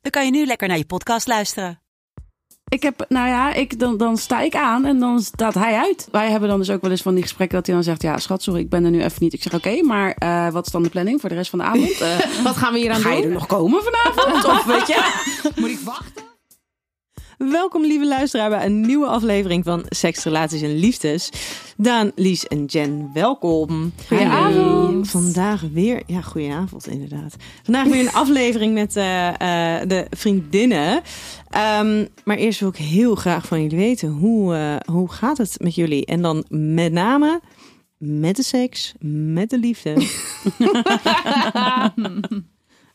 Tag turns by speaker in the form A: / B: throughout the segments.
A: dan kan je nu lekker naar je podcast luisteren.
B: Ik heb, nou ja, ik, dan, dan sta ik aan en dan staat hij uit. Wij hebben dan dus ook wel eens van die gesprekken dat hij dan zegt: Ja, schat, sorry, ik ben er nu even niet. Ik zeg: Oké, maar eh, wat is dan de planning voor de rest van de avond? Eh,
C: Wat gaan we hier aan
B: ga je er
C: doen?
B: nog komen vanavond? of weet je?
C: Moet ik wachten? Welkom, lieve luisteraar, bij een nieuwe aflevering van Seks, Relaties en Liefdes. Daan, Lies en Jen, welkom.
B: Goedenavond.
C: Vandaag weer, ja, goedenavond inderdaad. Vandaag weer een aflevering met eh, eh, de vriendinnen. Ehm, maar eerst wil ik heel graag van jullie weten, hoe, eh, hoe gaat het met jullie? En dan met name met de seks, met de liefde.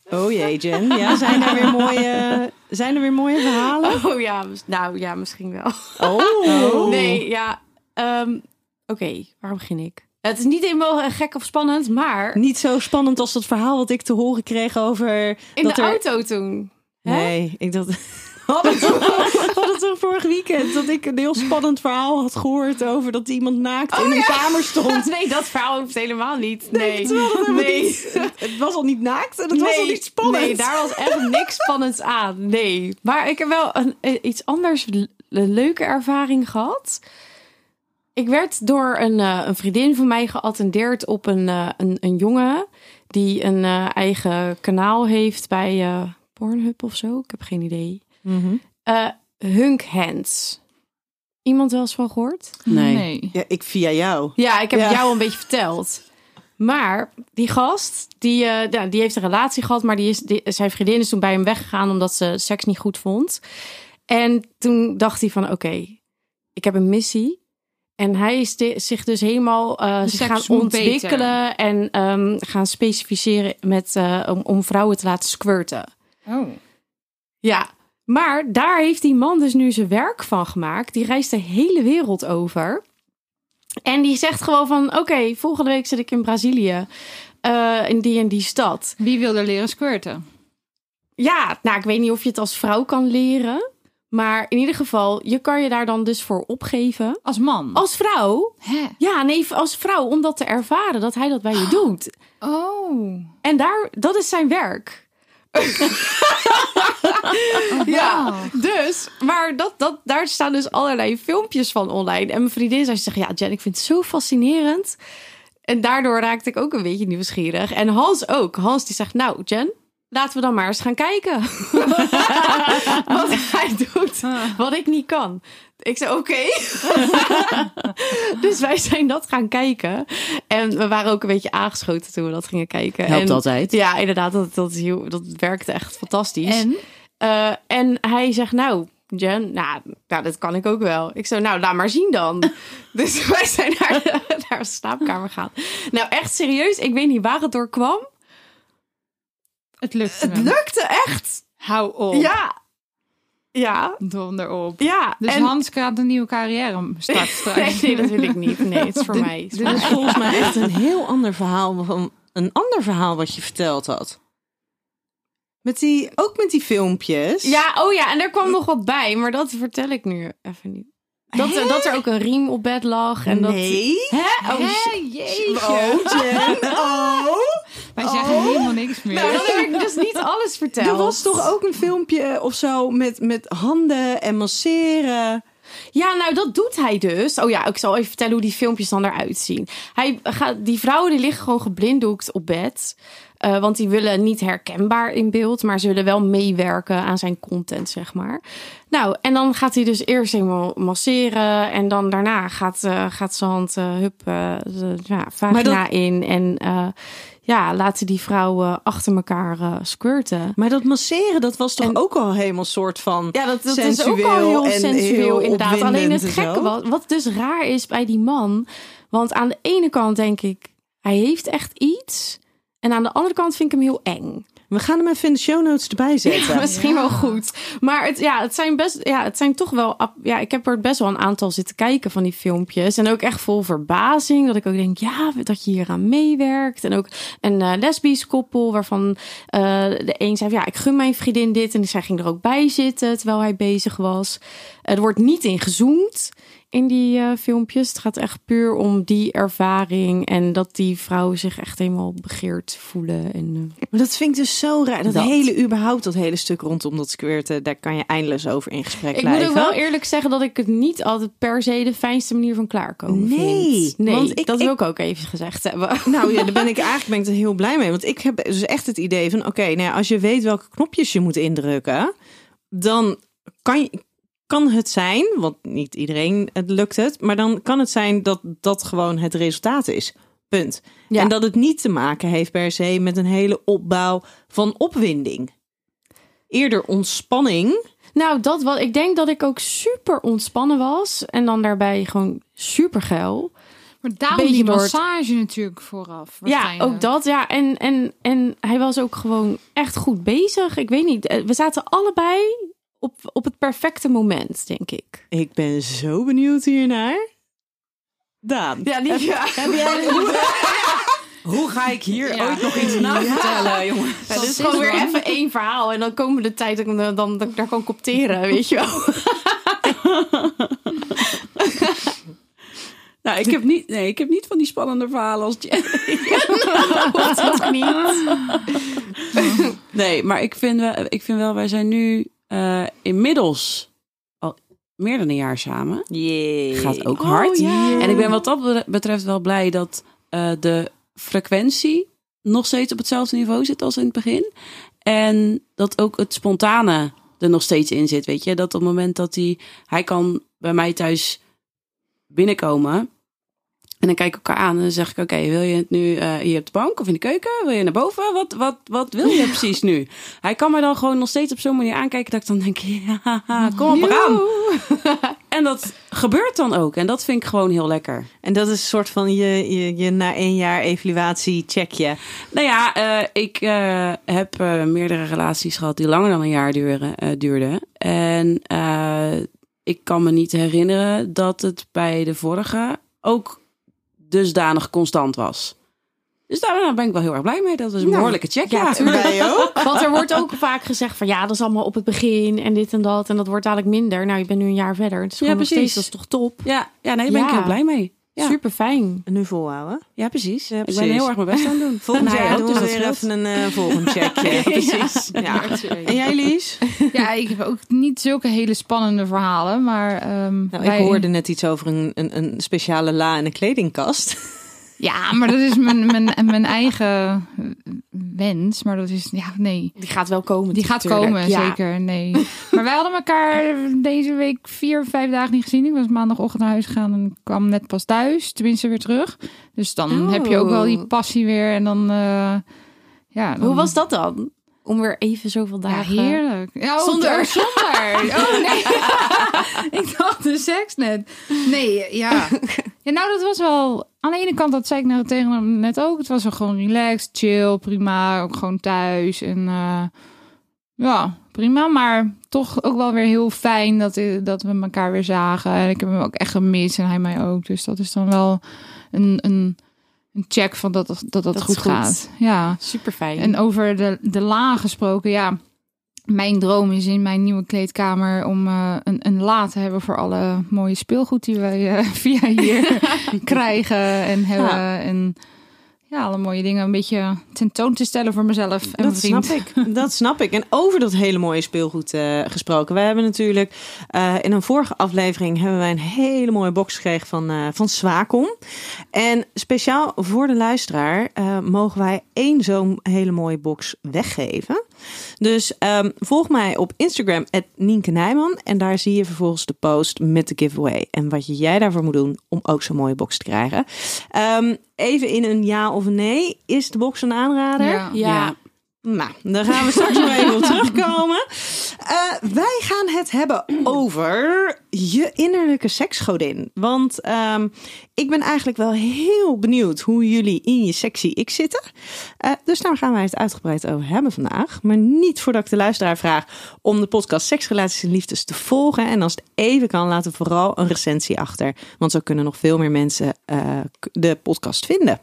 C: oh jee, Jen. Ja, zijn er weer mooie, zijn er weer mooie verhalen?
D: Oh ja, mis- nou ja, misschien wel.
C: Oh.
D: Nee, ja. ehm, Oké, waar begin ik? Het is niet helemaal eh, gek of spannend, maar
C: Niet zo spannend als dat verhaal wat ik te horen kreeg over...
D: in
C: dat
D: de
C: er...
D: auto toen. hè?
C: Nee, ik dacht... Had het, had het toch vorig weekend dat ik een heel spannend verhaal had gehoord over dat iemand naakt
D: Oh,
C: in een kamer stond.
D: Nee, dat verhaal hoeft helemaal niet. Nee,
C: Terwijl dat helemaal
D: nee.
C: niet- het- het was al niet naakt en het was al
D: Nee,
C: niet spannend.
D: Nee, daar was echt niks spannends aan. Nee. Maar ik heb wel een, eh, iets anders, le- een leuke ervaring gehad. Ik werd door een, eh, een vriendin van mij geattendeerd op een, eh, een, een jongen die een eh, eigen kanaal heeft bij eh, Pornhub of zo. Ik heb geen idee.
C: Mhm.
D: Eh, Hunk Hands. Iemand wel eens van gehoord?
B: Nee.
C: Ja, ik via jou.
D: Ja, ik heb
C: Ja.
D: het jou een beetje verteld. Maar die gast, die, eh, ja, die heeft een relatie gehad, maar die is, die- zijn vriendin is toen bij hem weggegaan omdat ze seks niet goed vond. En toen dacht hij van, oké, ik heb een missie. En hij is di- zich dus helemaal eh zich
E: seks
D: gaan
E: moet
D: ontwikkelen en ehm, gaan specificeren met, eh, om, om vrouwen te laten squirten.
E: Oh.
D: Ja, maar daar heeft die man dus nu zijn werk van gemaakt. Die reist de hele wereld over. En die zegt gewoon van, oké, volgende week zit ik in Brazilië. eh, in die en die stad.
E: Wie wil er leren squirten?
D: Ja, nou, ik weet niet of je het als vrouw kan leren. Maar in ieder geval, je kan je daar dan dus voor opgeven.
E: Als man.
D: Als vrouw?
E: Hè?
D: Ja, nee, als vrouw. Om dat te ervaren, dat hij dat bij je doet.
E: Oh.
D: En daar, dat is zijn werk. Ja, dus, maar dat, dat, daar staan dus allerlei filmpjes van online. En mijn vriendin zei, ze zegt, ja Jen, ik vind het zo fascinerend. En daardoor raakte ik ook een beetje nieuwsgierig. En Hans ook. Hans die zegt, nou Jen, laten we dan maar eens gaan kijken. wat hij doet,
B: Ah.
D: wat ik niet kan. Ik zei, oké. dus wij zijn dat gaan kijken. En we waren ook een beetje aangeschoten toen we dat gingen kijken.
B: Helpt
D: En-
B: altijd.
D: Ja, inderdaad. Dat, dat, is heel- dat werkte echt fantastisch.
E: En?
D: Eh, en hij zegt, nou, Jen, nou, nou, dat kan ik ook wel. Ik zo, nou, laat maar zien dan. dus wij zijn naar de, naar de slaapkamer gegaan. Nou, echt serieus, ik weet niet waar het door kwam.
E: Het lukt
D: Het lukte echt.
E: Hou op.
D: Ja. Ja.
E: Donder op.
D: Ja.
E: Dus
D: en-
E: Hans gaat een nieuwe carrière starten
D: nee,
E: straks.
D: nee, dat wil ik niet. Nee, het is voor mij. Het is
C: Dit
D: voor
C: is
D: mij.
C: volgens mij echt een heel ander verhaal van een ander verhaal wat je verteld had. Met die, ook met die filmpjes.
D: Ja, oh ja, en er kwam nog wat bij, maar dat vertel ik nu even niet. Dat, er- dat er ook een riem op bed lag. En
C: Nee.
D: Dat, hè? Oh, shit.
E: Hé, jeetje.
C: Oh, Jen. Oh.
E: Wij zeggen helemaal niks meer.
D: Nou, dan heb ik dus niet alles verteld.
C: Er was toch ook een filmpje of zo met, met handen en masseren.
D: Ja, nou dat doet hij dus. Oh ja, ik zal even vertellen hoe die filmpjes dan eruit zien. Hij gaat, die vrouwen die liggen gewoon geblinddoekt op bed. Eh, want die willen niet herkenbaar in beeld, maar ze willen wel meewerken aan zijn content, zeg maar. Nou, en dan gaat hij dus eerst helemaal masseren. En dan daarna gaat, eh, gaat zijn hand eh, hup, eh, de- ja, vagina in. En eh ja, laten die vrouwen achter elkaar eh, squirten.
C: Maar dat masseren, dat was toch ook al helemaal soort van
D: Ja, dat, dat is ook
C: sensueel
D: al heel
C: en
D: sensueel,
C: heel
D: inderdaad.
C: opwindend
D: Alleen het
C: en
D: gekke
C: zo.
D: wat, wat dus raar is bij die man. Want aan de ene kant denk ik, hij heeft echt iets. En aan de andere kant vind ik hem heel eng.
C: We gaan hem even in de show notes erbij zetten.
D: Misschien wel goed. Maar het, ja, het zijn best, ja, het zijn toch wel. ap- Ja, ik heb er best wel een aantal zitten kijken van die filmpjes. En ook echt vol verbazing. Dat ik ook denk, ja, dat je hier aan meewerkt. En ook een eh, lesbisch koppel waarvan eh, de een zei, van, ja, ik gun mijn vriendin dit. En zij ging er ook bij zitten terwijl hij bezig was. Er wordt niet in gezoomd in die eh, filmpjes. Het gaat echt puur om die ervaring. En dat die vrouwen zich echt helemaal begeerd voelen. En, eh,
C: Maar dat vind ik dus zo raar. Dat,
D: Dat.
C: hele, überhaupt dat hele stuk rondom dat squirten, daar kan je eindeloos over in gesprek
D: Ik
C: blijven.
D: moet ook wel eerlijk zeggen dat ik het niet altijd per se de fijnste manier van klaarkomen
C: Nee,
D: vind. Nee,
C: want ik-
D: dat
C: ik-
D: wil ik ook even gezegd hebben.
C: Nou ja, daar ben ik eigenlijk ben ik er heel blij mee. Want ik heb dus echt het idee van: oké, nou ja, als je weet welke knopjes je moet indrukken, dan kan, je- kan het zijn, want niet iedereen het lukt het, maar dan kan het zijn dat dat gewoon het resultaat is. Punt.
D: Ja.
C: En dat het niet te maken heeft per se met een hele opbouw van opwinding. Eerder ontspanning.
D: Nou, dat wat ik denk dat ik ook super ontspannen was en dan daarbij gewoon super geil.
E: Maar daarom
D: Beetje
E: die
D: door het-
E: massage natuurlijk vooraf.
D: Ja,
E: waarschijnlijk.
D: ook dat. Ja, en, en, en hij was ook gewoon echt goed bezig. Ik weet niet, eh, we zaten allebei op, op het perfecte moment, denk ik.
C: Ik ben zo benieuwd hiernaar. Daan.
D: Ja, lief, ja.
C: Hoe ga ik hier
E: Ja.
C: ooit nog iets na vertellen, jongen?
D: Ja, dit is gewoon weer even één verhaal. En dan komen de tijd dat ik dan, dan, dat ik daar kan kopteren, weet je wel.
B: Nou, ik heb niet, nee, ik heb niet van die spannende verhalen als Jen.
D: Dat is niet.
B: Nee, maar ik vind, wel- ik vind wel, wij zijn nu eh, inmiddels al meer dan een jaar samen.
C: Jee.
B: Gaat ook
D: Oh,
B: hard.
D: ja.
B: En ik ben wat dat betreft wel blij dat eh, de frequentie nog steeds op hetzelfde niveau zit als in het begin. En dat ook het spontane er nog steeds in zit. Weet je, dat op het moment dat hij, hij kan bij mij thuis binnenkomen. En dan kijk ik elkaar aan en dan zeg ik: Oké, wil je het nu eh, hier op de bank of in de keuken? Wil je naar boven? Wat, wat, wat wil je precies nu? Hij kan mij dan gewoon nog steeds op zo'n manier aankijken dat ik dan denk: Ja, kom op, we gaan. En dat gebeurt dan ook. En dat vind ik gewoon heel lekker.
C: En dat is een soort van je, je, je na één jaar evaluatie checkje.
B: Nou ja, eh, ik eh, heb eh, meerdere relaties gehad die langer dan een jaar duren, eh, duurden. En eh, ik kan me niet herinneren dat het bij de vorige ook dusdanig constant was. Dus daar ben ik wel heel erg blij mee. Dat was een behoorlijke check. Ja,
C: Wij ook.
D: Want er wordt ook vaak gezegd van ja, dat is allemaal op het begin en dit en dat. En dat wordt dadelijk minder. Nou, je bent nu een jaar verder. Het is gewoon nog
B: precies.
D: steeds, dat is toch top.
B: ja, ja nee, daar ben ik
D: Ja.
B: heel blij mee. Ja.
D: Super fijn.
C: Nu volhouden.
B: Ja, precies.
C: Ja,
B: Ik
C: precies.
B: ben heel erg mijn best aan het doen.
C: Volgend
B: En hij
C: jaar
B: ook,
C: doen
B: dus
C: we
B: dat
C: weer
B: scheelt.
C: even een eh, volgend checkje. precies. Ja. En jij Lies?
E: Ja, ik heb ook niet zulke hele spannende verhalen, maar... ehm,
C: Nou,
E: wij-
C: ik hoorde net iets over een, een, een speciale la en een kledingkast.
E: Ja, maar dat is mijn, mijn, mijn eigen wens, maar dat is... Ja, nee.
D: Die gaat wel komen.
E: Die gaat
D: natuurlijk.
E: komen,
D: Ja.
E: zeker. Nee. Maar wij hadden elkaar deze week vier, vijf dagen niet gezien. Ik was maandagochtend naar huis gegaan en kwam net pas thuis. Tenminste weer terug. Dus dan
D: Oh.
E: heb je ook wel die passie weer. En dan... eh, ja, dan-
D: Hoe was dat dan? Om weer even zoveel
E: Ja,
D: dagen.
E: heerlijk. Ja, oh,
D: Zonder.
E: oh, zonder. Oh nee. ik dacht de seks net. Nee, ja. ja. Nou, dat was wel... Aan de ene kant, dat zei ik nou tegen hem net ook. Het was wel gewoon relaxed, chill, prima. Ook gewoon thuis. En eh, ja, prima. Maar toch ook wel weer heel fijn dat, dat we elkaar weer zagen. En ik heb hem ook echt gemist en hij mij ook. Dus dat is dan wel een, een, een check van dat dat, dat,
D: is
E: goed
D: goed.
E: gaat. Ja.
D: Super fijn.
E: En over de, de la gesproken, ja. Mijn droom is in mijn nieuwe kleedkamer om eh, een, een la te hebben voor alle mooie speelgoed die wij eh, via hier krijgen en hebben. En ja, alle mooie dingen een beetje tentoon te stellen voor mezelf en mijn
C: dat
E: vriend.
C: snap ik. Dat snap ik. En over dat hele mooie speelgoed eh, gesproken. Wij hebben natuurlijk eh, in een vorige aflevering hebben wij een hele mooie box gekregen van, eh van Swacom. En speciaal voor de luisteraar eh, mogen wij één zo'n hele mooie box weggeven. Dus ehm, volg mij op Instagram, Nienke Nijman. En daar zie je vervolgens de post met de giveaway. En wat jij daarvoor moet doen om ook zo'n mooie box te krijgen. Ehm, even in een ja of een nee. Is de box een aanrader?
E: Ja.
D: ja.
B: Ja.
C: Nou, daar gaan we straks nog even op terugkomen. Eh, Eh, wij gaan het hebben over je innerlijke seksgodin. Want ehm, ik ben eigenlijk wel heel benieuwd hoe jullie in je sexy ik zitten. Eh, dus daar gaan wij het uitgebreid over hebben vandaag. Maar niet voordat ik de luisteraar vraag om de podcast Seksrelaties en Liefdes te volgen. En als het even kan, laten we vooral een recensie achter. Want zo kunnen nog veel meer mensen eh, k- de podcast vinden.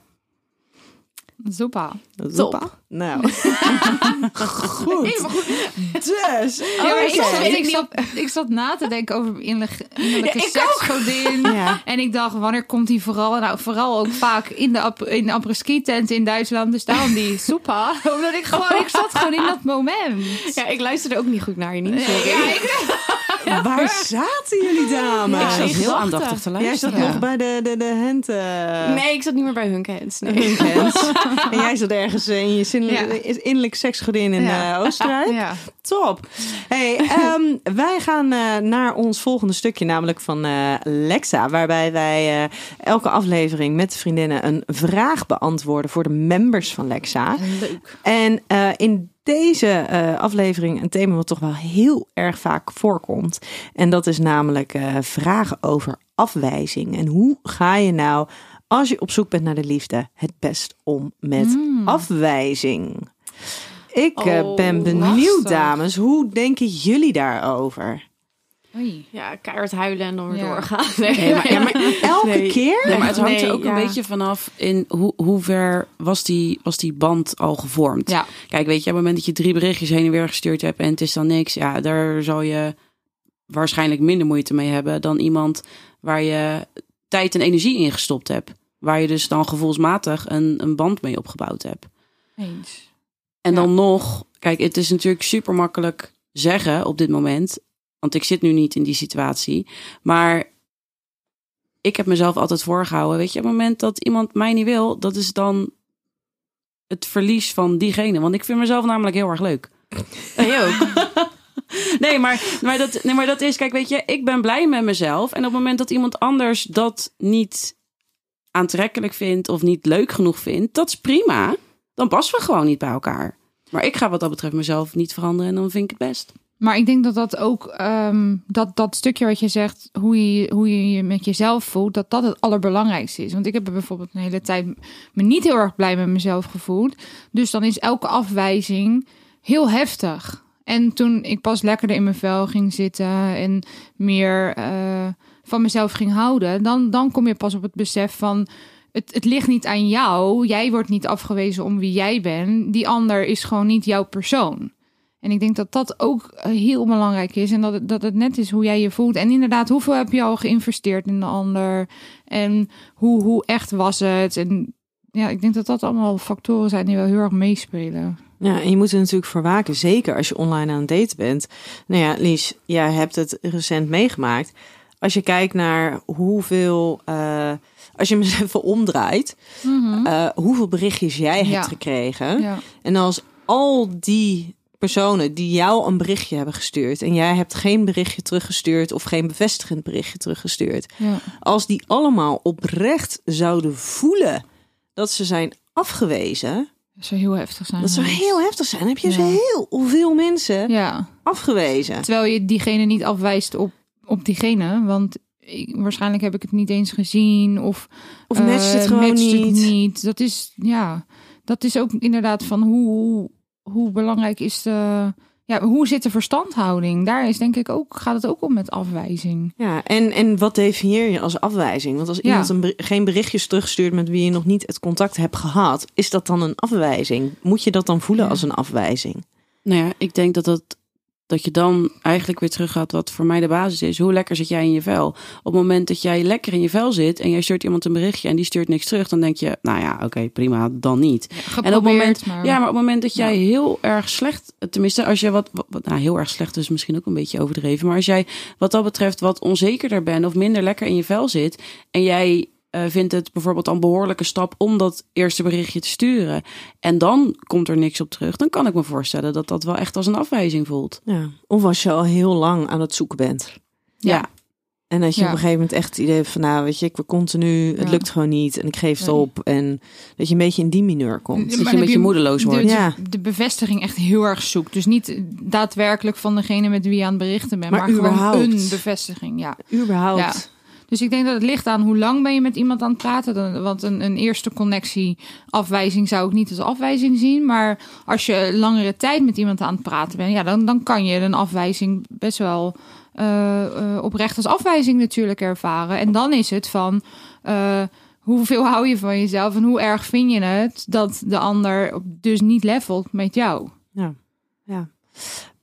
E: Zoepa.
C: Top. Nou. Goed. Dus.
E: Ja, maar ik,
C: oké.
E: zat, ik, zat, ik zat na te denken over mijn innerlijke innerlijke
D: Ja, ik
E: seksgodin.
C: Ja.
E: En ik dacht, wanneer komt die vooral? Nou, vooral ook vaak in de, ap- in de ski tent in Duitsland. Dus daarom die soepa. Omdat ik gewoon, ik zat gewoon in dat moment.
D: Ja, ik luisterde ook niet goed naar je niet. Sorry.
E: Ja, ik,
C: Waar zaten jullie dames?
B: Ik zat
D: in
B: heel
D: gedachten.
B: aandachtig te
C: Jij
B: luisteren.
C: zat nog bij de, de, de hand. eh,
D: nee, ik zat niet meer bij Hunke Hens. Nee.
C: hun hands. en jij zat ergens eh, in je zinnelijk- innerlijk seksgodin in
E: Ja.
C: eh, Oostenrijk.
E: ja.
C: Top. Hey, ehm, wij gaan eh, naar ons volgende stukje, namelijk van eh, Lexa. Waarbij wij eh, elke aflevering met de vriendinnen een vraag beantwoorden voor de members van Lexa.
E: Leuk.
C: En eh, in deze eh, aflevering een thema wat toch wel heel erg vaak voorkomt. En dat is namelijk eh, vragen over afwijzing. En hoe ga je nou, als je op zoek bent naar de liefde, het best om met afwijzing? Ik eh,
D: Oh,
C: ben benieuwd,
E: lastig.
C: dames. Hoe denken jullie daarover?
E: Oei.
D: Ja, keihard huilen en dan weer
E: Ja.
D: doorgaan. Nee.
B: Nee, maar- ja, maar-
C: Elke keer?
B: Nee, maar het hangt er
D: Nee,
B: ook
D: ja.
B: een beetje vanaf in hoe, hoe ver was die, was die band al gevormd.
E: Ja.
B: Kijk, weet je, op het moment dat je drie berichtjes heen en weer gestuurd hebt en het is dan niks, ja, daar zal je waarschijnlijk minder moeite mee hebben dan iemand waar je tijd en energie in gestopt hebt. Waar je dus dan gevoelsmatig een, een band mee opgebouwd hebt.
E: Eens.
B: En
E: Ja.
B: dan nog, kijk, het is natuurlijk super makkelijk zeggen op dit moment. Want ik zit nu niet in die situatie. Maar ik heb mezelf altijd voorgehouden. Weet je, op het moment dat iemand mij niet wil, dat is dan het verlies van diegene. Want ik vind mezelf namelijk heel erg leuk.
D: Nee, ook.
B: Nee maar, maar dat, nee, maar dat is, kijk, weet je, ik ben blij met mezelf. En op het moment dat iemand anders dat niet aantrekkelijk vindt of niet leuk genoeg vindt, dat is prima. Dan passen we gewoon niet bij elkaar. Maar ik ga wat dat betreft mezelf niet veranderen en dan vind ik het best.
E: Maar ik denk dat dat ook, ehm, dat, dat stukje wat je zegt, hoe je, hoe je je met jezelf voelt, dat dat het allerbelangrijkste is. Want ik heb er bijvoorbeeld een hele tijd me niet heel erg blij met mezelf gevoeld. Dus dan is elke afwijzing heel heftig. En toen ik pas lekkerder in mijn vel ging zitten en meer eh, van mezelf ging houden, dan, dan kom je pas op het besef van. Het, het ligt niet aan jou. Jij wordt niet afgewezen om wie jij bent. Die ander is gewoon niet jouw persoon. En ik denk dat dat ook eh, heel belangrijk is. En dat het, dat het net is hoe jij je voelt. En inderdaad, hoeveel heb je al geïnvesteerd in de ander? En hoe, hoe echt was het? En ja, ik denk dat dat allemaal factoren zijn die wel heel erg meespelen.
C: Ja, en je moet er natuurlijk voor waken. Zeker als je online aan het daten bent. Nou ja, Lies, jij hebt het recent meegemaakt. Als je kijkt naar hoeveel... eh, als je hem eens even omdraait. eh, hoeveel berichtjes jij hebt
E: Ja.
C: gekregen.
E: Ja.
C: En als al die personen die jou een berichtje hebben gestuurd... en jij hebt geen berichtje teruggestuurd... of geen bevestigend berichtje teruggestuurd
E: Ja.
C: als die allemaal oprecht zouden voelen dat ze zijn afgewezen,
E: Dat zou heel heftig zijn.
C: dat zou
E: geweest.
C: heel heftig zijn. Dan heb je
E: Mhm. Ja.
C: dus heel veel mensen
E: Ja.
C: afgewezen.
E: Terwijl je diegene niet afwijst op, op diegene. Want ik, waarschijnlijk heb ik het niet eens gezien. Of,
C: Of matcht
E: eh,
C: het gewoon
E: matcht het
C: niet.
E: niet. Dat is, ja, dat is ook inderdaad van hoe, hoe belangrijk is de... Ja, hoe zit de verstandhouding? Daar is denk ik ook, gaat het ook om met afwijzing.
C: Ja, en, en wat definieer je als afwijzing? Want als
E: Ja.
C: iemand een beri- geen berichtjes terugstuurt met wie je nog niet het contact hebt gehad, is dat dan een afwijzing? Moet je dat dan voelen
E: Ja.
C: als een afwijzing?
B: Nou ja, ik denk dat, dat, dat je dan eigenlijk weer terug gaat wat voor mij de basis is. Hoe lekker zit jij in je vel? Op het moment dat jij lekker in je vel zit en jij stuurt iemand een berichtje en die stuurt niks terug, dan denk je, nou ja, oké, prima, dan niet.
E: Geprobeerd,
B: en op het moment,
E: maar...
B: Ja, maar op het moment dat jij heel erg slecht, tenminste als je wat, wat nou, heel erg slecht is misschien ook een beetje overdreven, maar als jij wat dat betreft wat onzekerder bent of minder lekker in je vel zit en jij eh, vindt het bijvoorbeeld een behoorlijke stap om dat eerste berichtje te sturen en dan komt er niks op terug, dan kan ik me voorstellen dat dat wel echt als een afwijzing voelt.
C: Ja. Of als je al heel lang aan het zoeken bent.
B: Ja,
C: En dat je
E: Ja.
C: op een gegeven moment echt het idee hebt van, nou weet je, ik word continu, het
E: Ja.
C: lukt gewoon niet en ik geef het
E: Nee.
C: op. En dat je een beetje in die mineur komt.
B: Dat
E: Ja, maar
B: je een
E: heb
B: beetje
E: je-
B: moedeloos wordt.
E: De,
C: Ja.
E: de, de bevestiging echt heel erg zoekt. Dus niet daadwerkelijk van degene met wie je aan het berichten bent.
C: Maar
E: Maar, gewoon
C: überhaupt.
E: een bevestiging, ja.
C: Überhaupt.
E: Dus ik denk dat het ligt aan hoe lang ben je met iemand aan het praten. Dan- Want een, een eerste connectie afwijzing zou ik niet als afwijzing zien. Maar als je langere tijd met iemand aan het praten bent, ja, dan, dan kan je een afwijzing best wel eh, eh, oprecht als afwijzing natuurlijk ervaren. En dan is het van. eh, Hoeveel hou je van jezelf en hoe erg vind je het dat de ander op- dus niet levelt met jou?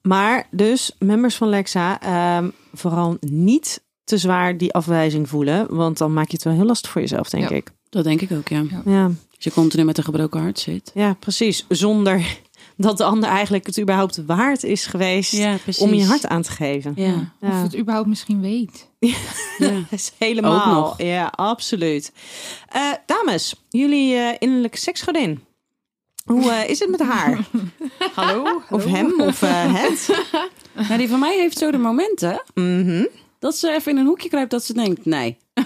C: Maar dus, members van Lexa, ehm, vooral niet te zwaar die afwijzing voelen. Want dan maak je het wel heel lastig voor jezelf, denk
E: Ja.
C: ik.
B: Dat denk ik ook, ja.
C: Ja,
B: Als je continu met een gebroken hart zit.
C: ja, precies. Zonder dat de ander eigenlijk het überhaupt waard is geweest
B: precies.
C: om je hart aan te geven.
B: Ja,
C: Ja.
E: Of het überhaupt misschien weet.
B: ja.
C: Dat is helemaal.
B: Ook nog.
C: Ja, absoluut. Eh, dames, jullie eh, innerlijke seksgodin. Hoe eh, is het met haar?
E: Hallo?
C: Of hem, of eh, het?
B: Nou, die van mij heeft zo de momenten
C: Mhm.
B: dat ze even in een hoekje kruipt dat ze denkt, nee.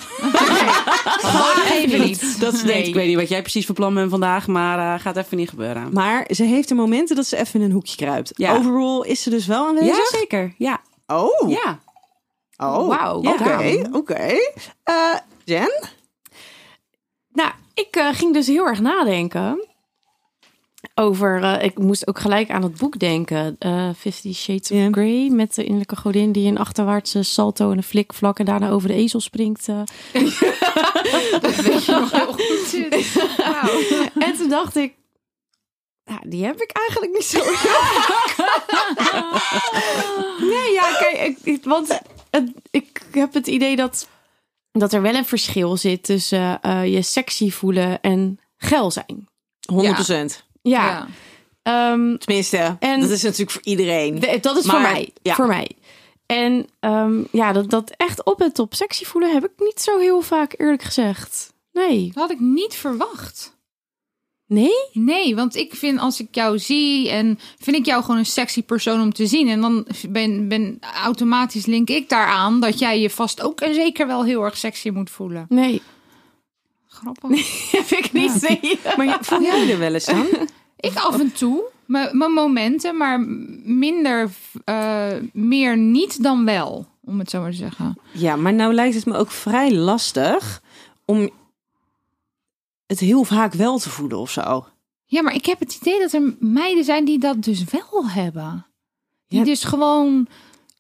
E: Maar even niet.
B: Dat ze denkt,
E: Nee.
B: ik weet niet wat jij precies van plan bent vandaag, maar eh, gaat even niet gebeuren.
C: Maar ze heeft de momenten dat ze even in een hoekje kruipt.
B: Ja.
C: Overall is ze dus wel aanwezig?
B: Ja, eh, zeker. Ja,
C: Oh,
B: ja.
C: oh.
D: Wauw,
C: Oké,
D: ja.
C: oké. Eh, Jen?
D: Nou, ik eh, ging dus heel erg nadenken over. eh, ik moest ook gelijk aan het boek denken: eh Fifty Shades of
C: Ja.
D: Grey. Met de innerlijke godin die een achterwaartse salto en een flikvlak en daarna over de ezel springt. eh.
E: Weet je nog heel goed zit. Wauw.
D: En toen dacht ik. Nou, die heb ik eigenlijk niet zo. nee, ja, kijk, ik, ik- want het- ik heb het idee dat, dat er wel een verschil zit tussen eh, je sexy voelen en geil zijn.
C: 100%.
D: Ja.
E: Ja.
D: ehm,
C: Tenminste,
D: En-
C: dat is natuurlijk voor iedereen.
D: De- dat is
C: Maar,
D: voor mij.
C: ja.
D: Voor mij. En ehm, ja, dat, dat echt op en top sexy voelen heb ik niet zo heel vaak eerlijk gezegd. Nee.
E: Dat had ik niet verwacht.
D: Nee?
E: Nee, want ik vind als ik jou zie en vind ik jou gewoon een sexy persoon om te zien. En dan ben, ben automatisch link ik daaraan dat jij je vast ook en zeker wel heel erg sexy moet voelen.
D: Nee.
E: Grappig.
D: heb ik niet. Nee.
C: Maar ja, voel jij er wel eens dan?
E: Ik af en toe. Mijn mijn momenten, maar minder, eh, meer niet dan wel. Om het zo maar te zeggen.
C: Ja, maar nou lijkt het me ook vrij lastig om het heel vaak wel te voelen of zo.
E: Ja, maar ik heb het idee dat er meiden zijn die dat dus wel hebben. Die
C: Ja.
E: dus gewoon